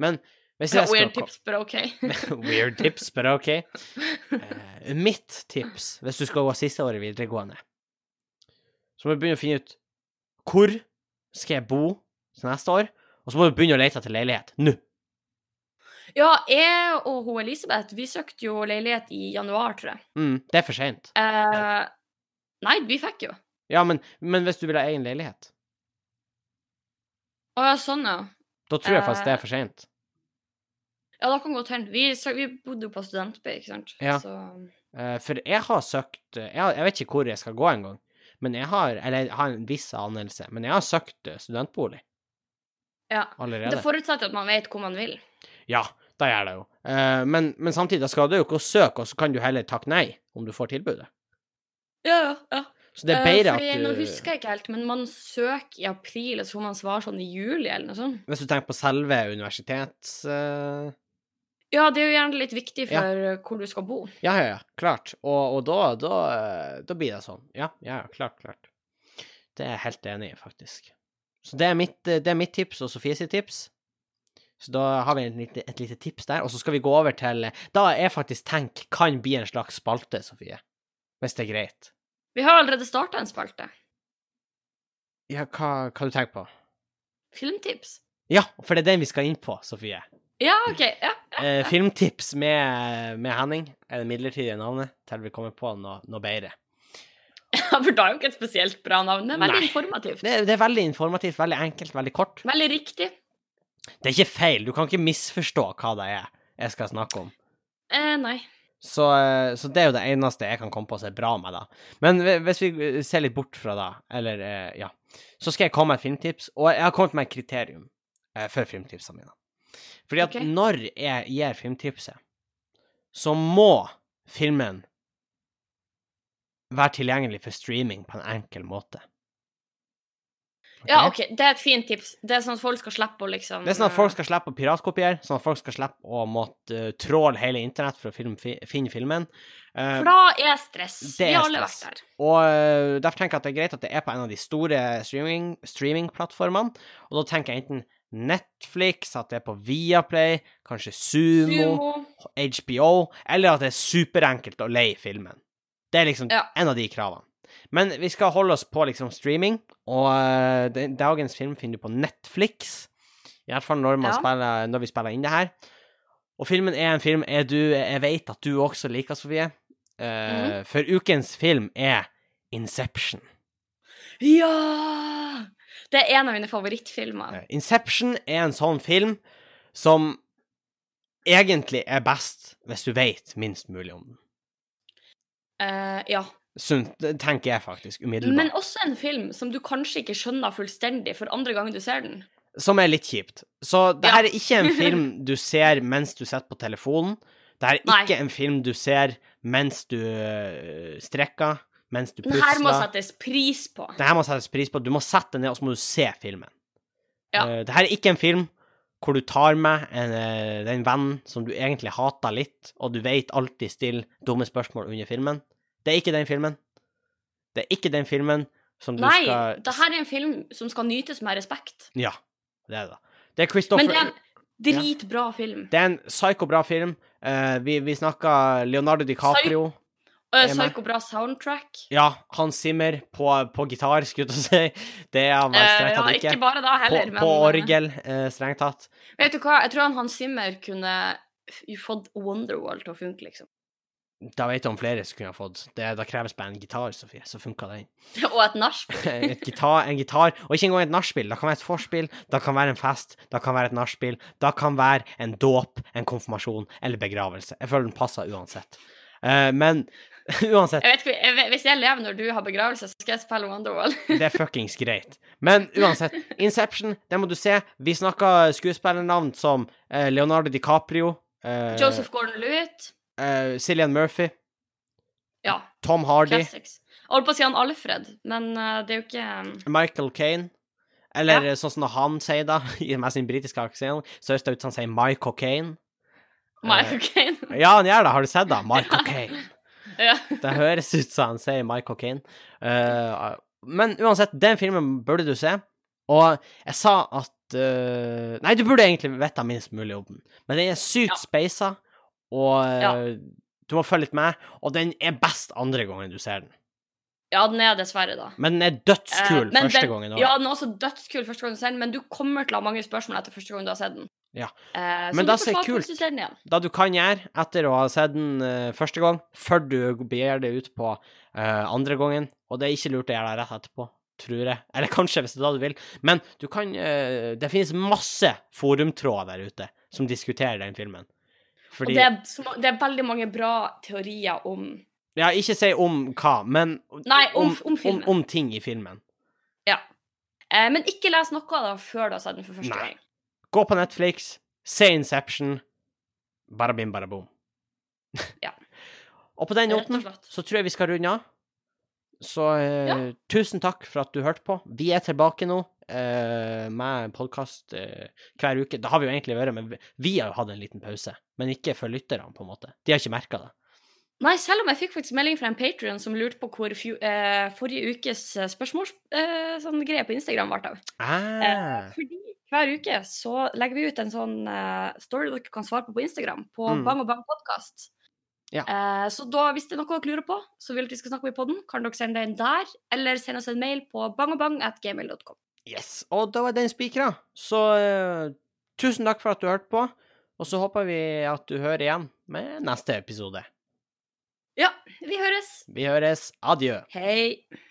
[SPEAKER 1] Men hvis jeg skal
[SPEAKER 2] Weird tips, but ok.
[SPEAKER 1] *laughs* Weird tips, bare OK. Eh, mitt tips, hvis du skal gå siste året videregående, så må du begynne å finne ut hvor skal jeg bo til neste år, og så må du begynne å lete etter leilighet nå.
[SPEAKER 2] Ja, jeg og hun Elisabeth, vi søkte jo leilighet i januar, tror jeg.
[SPEAKER 1] Mm, det er for seint.
[SPEAKER 2] Eh, nei, vi fikk jo.
[SPEAKER 1] Ja, men, men hvis du vil ha egen leilighet,
[SPEAKER 2] Å ja, sånn ja.
[SPEAKER 1] da tror jeg faktisk det er for seint.
[SPEAKER 2] Ja, da kan godt hende. Vi, sø- vi bodde jo på studentby, ikke sant.
[SPEAKER 1] Ja.
[SPEAKER 2] Så,
[SPEAKER 1] Eh, for jeg har søkt eh, jeg, har- jeg vet ikke hvor jeg skal gå engang, men jeg har Eller jeg har en viss anelse, men jeg har søkt eh, studentbolig
[SPEAKER 2] ja.
[SPEAKER 1] allerede.
[SPEAKER 2] Det forutsetter at man vet hvor man vil.
[SPEAKER 1] Ja, da gjør det jo. Eh, men, men samtidig, da skal du jo ikke å søke, og så kan du heller takke nei om du får tilbudet.
[SPEAKER 2] Ja, ja, ja.
[SPEAKER 1] Så det er
[SPEAKER 2] Eh,
[SPEAKER 1] bedre
[SPEAKER 2] fordi,
[SPEAKER 1] at du
[SPEAKER 2] Nå husker jeg ikke helt, men man søker i april, og så får man svar sånn i juli, eller noe sånt.
[SPEAKER 1] Hvis du tenker på selve universitets... eh,
[SPEAKER 2] Ja, det er jo gjerne litt viktig
[SPEAKER 1] Ja.
[SPEAKER 2] for eh, hvor du skal bo.
[SPEAKER 1] ja, ja, ja, klart. Og, og da, da, eh, da blir det sånn. Ja, ja, ja, klart, klart. Det er jeg helt enig i, faktisk. Så det er mitt, eh, det er mitt tips og Sofie sitt tips. Så da har vi et lite, et lite tips der, og så skal vi gå over til eh, Da er faktisk Tenk kan bli en slags spalte, Sofie. Hvis det er greit.
[SPEAKER 2] Vi har allerede starta en spalte.
[SPEAKER 1] Ja, hva, hva du tenker på?
[SPEAKER 2] Filmtips.
[SPEAKER 1] Ja, for det er den vi skal inn på, Sofie.
[SPEAKER 2] Ja, OK. Ja. *laughs*
[SPEAKER 1] Eh, filmtips med, med Henning er det midlertidige navnet til vi kommer på noe, noe bedre.
[SPEAKER 2] Ja, For da er jo ikke et spesielt bra navn. Det er veldig
[SPEAKER 1] Nei.
[SPEAKER 2] informativt.
[SPEAKER 1] Det, det er veldig informativt, veldig enkelt, veldig kort.
[SPEAKER 2] Veldig riktig.
[SPEAKER 1] Det er ikke feil, du kan ikke misforstå hva det er jeg skal snakke om.
[SPEAKER 2] Eh, nei.
[SPEAKER 1] Så, eh, så det er jo det eneste jeg kan komme på som er bra med det. Men hvi- hvis vi eh, ser litt bort fra det, eller eh, ja, så skal jeg komme med et filmtips, og jeg har kommet med et kriterium eh, for filmtipsene mine. Fordi at
[SPEAKER 2] Ok.
[SPEAKER 1] når jeg gir filmtipset, så må filmen være tilgjengelig for streaming på en enkel måte. Ok?
[SPEAKER 2] Ja, OK. Det er et fint tips. Det er sånn at folk skal slippe å liksom
[SPEAKER 1] Det er sånn at folk skal slippe å piratkopiere, sånn at folk skal slippe å måtte eh, tråle hele internett for å film, fi, finne filmen. Eh,
[SPEAKER 2] For da er stress.
[SPEAKER 1] Det
[SPEAKER 2] Vi
[SPEAKER 1] er
[SPEAKER 2] har alle
[SPEAKER 1] stress.
[SPEAKER 2] vært der.
[SPEAKER 1] og eh, derfor tenker jeg at det er greit at det er på en av de store streaming, streamingplattformene. Og da tenker jeg enten Netflix, at det er på Viaplay, kanskje Sumo,
[SPEAKER 2] Sumo.
[SPEAKER 1] HBO, eller at det er superenkelt å leie filmen. Det er liksom
[SPEAKER 2] Ja.
[SPEAKER 1] en av de kravene. Men vi skal holde oss på liksom streaming, og eh, den- dagens film finner du på Netflix. I hvert fall når, man
[SPEAKER 2] Ja.
[SPEAKER 1] spiller, når vi spiller inn det her. Og filmen er en film er du, jeg vet at du også liker, Sofie.
[SPEAKER 2] Mhm.
[SPEAKER 1] Eh, For ukens film er Inception.
[SPEAKER 2] Ja! Det er en av mine favorittfilmer.
[SPEAKER 1] Eh, Inception er en sånn film som egentlig er best hvis du vet minst mulig om den.
[SPEAKER 2] Eh, ja.
[SPEAKER 1] sunt, det tenker jeg faktisk, umiddelbart.
[SPEAKER 2] Men også en film som du kanskje ikke skjønner fullstendig for andre gang du ser den.
[SPEAKER 1] Som er litt kjipt. Så det
[SPEAKER 2] Ja.
[SPEAKER 1] her er
[SPEAKER 2] *laughs*
[SPEAKER 1] ikke en film du ser mens du sitter på telefonen. Det her er
[SPEAKER 2] Nei.
[SPEAKER 1] ikke en film du ser mens du øh, strekker, mens du
[SPEAKER 2] Den her må
[SPEAKER 1] pusler.
[SPEAKER 2] settes pris på.
[SPEAKER 1] Det her må settes pris på. Du må sette deg ned, og så må du se filmen.
[SPEAKER 2] Ja.
[SPEAKER 1] Eh, det her er ikke en film hvor du tar med en, eh, den vennen som du egentlig hater litt, og du vet alltid stiller dumme spørsmål under filmen. Det er ikke den filmen. Det er ikke den filmen som du
[SPEAKER 2] Nei,
[SPEAKER 1] skal
[SPEAKER 2] det her er en film som skal nytes med respekt.
[SPEAKER 1] Ja, det er det. Det er Christopher
[SPEAKER 2] Men det er en dritbra film.
[SPEAKER 1] Det er en psykobra film. Eh, vi vi snakka Leonardo DiCaprio.
[SPEAKER 2] Å Og
[SPEAKER 1] er med.
[SPEAKER 2] Psycho bra soundtrack.
[SPEAKER 1] Ja, Hans Zimmer på, på gitar, skulle jeg til å si. Det er han vel
[SPEAKER 2] Eh,
[SPEAKER 1] strengt
[SPEAKER 2] ja,
[SPEAKER 1] tatt
[SPEAKER 2] ikke
[SPEAKER 1] ikke.
[SPEAKER 2] bare da
[SPEAKER 1] På,
[SPEAKER 2] heller, men
[SPEAKER 1] på
[SPEAKER 2] eh,
[SPEAKER 1] orgel, eh, strengt tatt.
[SPEAKER 2] Vet du hva, jeg tror han Hans Zimmer kunne f- fått Wonderwall til å funke, liksom. *laughs*
[SPEAKER 1] Da vet du om flere som kunne ha fått. Det, da kreves bare en gitar, Sofie, så funka den.
[SPEAKER 2] Og et nachspiel.
[SPEAKER 1] *laughs* Et gitar, en gitar, og ikke engang et nachspiel. Det kan være et vorspiel, det kan være en fest, det kan være et nachspiel, det kan være en dåp, en konfirmasjon eller begravelse. Jeg føler den passer uansett. Eh, men *laughs* uansett,
[SPEAKER 2] Jeg vet ikke, jeg, vet- hvis jeg lever når du har begravelse, så skal jeg spille Wonderwall.
[SPEAKER 1] det er fuckings greit. Men uansett, Inception, det må du se. Vi snakka skuespillernavn som eh, Leonardo DiCaprio, eh,
[SPEAKER 2] Joseph Gordon-Lewitt.
[SPEAKER 1] eh, Cillian Murphy,
[SPEAKER 2] Ja,
[SPEAKER 1] Tom Hardy,
[SPEAKER 2] classics. Jeg holdt på å si han Alfred, men eh, det er jo ikke um,
[SPEAKER 1] Michael Kane. Eller sånn som han sier, da, *laughs* i med sin britiske aksent, så høres det ut som han sier Michael Kane. Eh,
[SPEAKER 2] Michael Caine.
[SPEAKER 1] Ja, han gjør det. Har du sett det? Michael Kane.
[SPEAKER 2] *laughs* ja.
[SPEAKER 1] Det høres ut som han sier Michael Kane. Eh, men uansett, den filmen burde du se. Og jeg sa at eh, Nei, du burde egentlig vite minst mulig om den, men den er sykt
[SPEAKER 2] Ja.
[SPEAKER 1] speisa, og eh, du må følge litt med, og den er best andre gangen du ser den.
[SPEAKER 2] *laughs* ja, den er dessverre, da.
[SPEAKER 1] Men den er
[SPEAKER 2] Eh,
[SPEAKER 1] dødskul
[SPEAKER 2] men
[SPEAKER 1] første
[SPEAKER 2] den-
[SPEAKER 1] gangen òg.
[SPEAKER 2] Ja, den er også dødskul første gang du ser den, men du kommer til å ha mange spørsmål etter første gang du har sett den.
[SPEAKER 1] Ja.
[SPEAKER 2] Eh,
[SPEAKER 1] Men
[SPEAKER 2] så
[SPEAKER 1] da
[SPEAKER 2] du får
[SPEAKER 1] ser
[SPEAKER 2] svare på
[SPEAKER 1] kult.
[SPEAKER 2] hvis du ser den igjen.
[SPEAKER 1] Det du kan gjøre etter å ha sett den eh, første gang, før du begir deg ut på eh, andre gangen, og det er ikke lurt å gjøre det rett etterpå, tror jeg, eller kanskje hvis det er det du vil, men du kan eh, Det finnes masse forumtråder der ute som diskuterer den filmen.
[SPEAKER 2] Og
[SPEAKER 1] Fordi
[SPEAKER 2] det er, så- det er veldig mange bra teorier om
[SPEAKER 1] Ja, ikke si om hva, men
[SPEAKER 2] Nei, om- om filmen.
[SPEAKER 1] Om, om ting i filmen.
[SPEAKER 2] eh, Men ikke les noe av det før du har sett den for første
[SPEAKER 1] Nei.
[SPEAKER 2] gang.
[SPEAKER 1] Gå på Netflix, se Inception, bare bim, bare boom. *laughs*
[SPEAKER 2] Ja.
[SPEAKER 1] Og på den
[SPEAKER 2] Rett
[SPEAKER 1] noten
[SPEAKER 2] og slett.
[SPEAKER 1] så tror jeg vi skal runde av. Så eh, tusen takk for at du hørte på. Vi er tilbake nå eh, med podkast eh, hver uke. Det har vi jo egentlig vært, men vi- vi har jo hatt en liten pause. Men ikke for lytterne, på en måte. De har ikke merka det.
[SPEAKER 2] Nei, selv om jeg fikk faktisk melding fra en Patrion som lurte på hvor fju- eh, forrige ukes eh, spørsmåls... Eh, sånn greie på Instagram ble av.
[SPEAKER 1] Ah,
[SPEAKER 2] Fordi hver uke så legger vi ut en sånn eh, story dere kan svare på på Instagram, på
[SPEAKER 1] Mm.
[SPEAKER 2] Bang og Bang podcast.
[SPEAKER 1] Ja.
[SPEAKER 2] Eh, så da, hvis det er noe dere lurer på, så vil dere skal snakke om i podden, kan dere sende det inn der, eller sende oss en mail på bangogbang.gmail.com.
[SPEAKER 1] yes. Og da var den spikra. Så eh, tusen takk for at du hørte på. Og så håper vi at du hører igjen med neste episode.
[SPEAKER 2] Ja, vi høres!
[SPEAKER 1] Vi høres. Adjø.
[SPEAKER 2] Hei!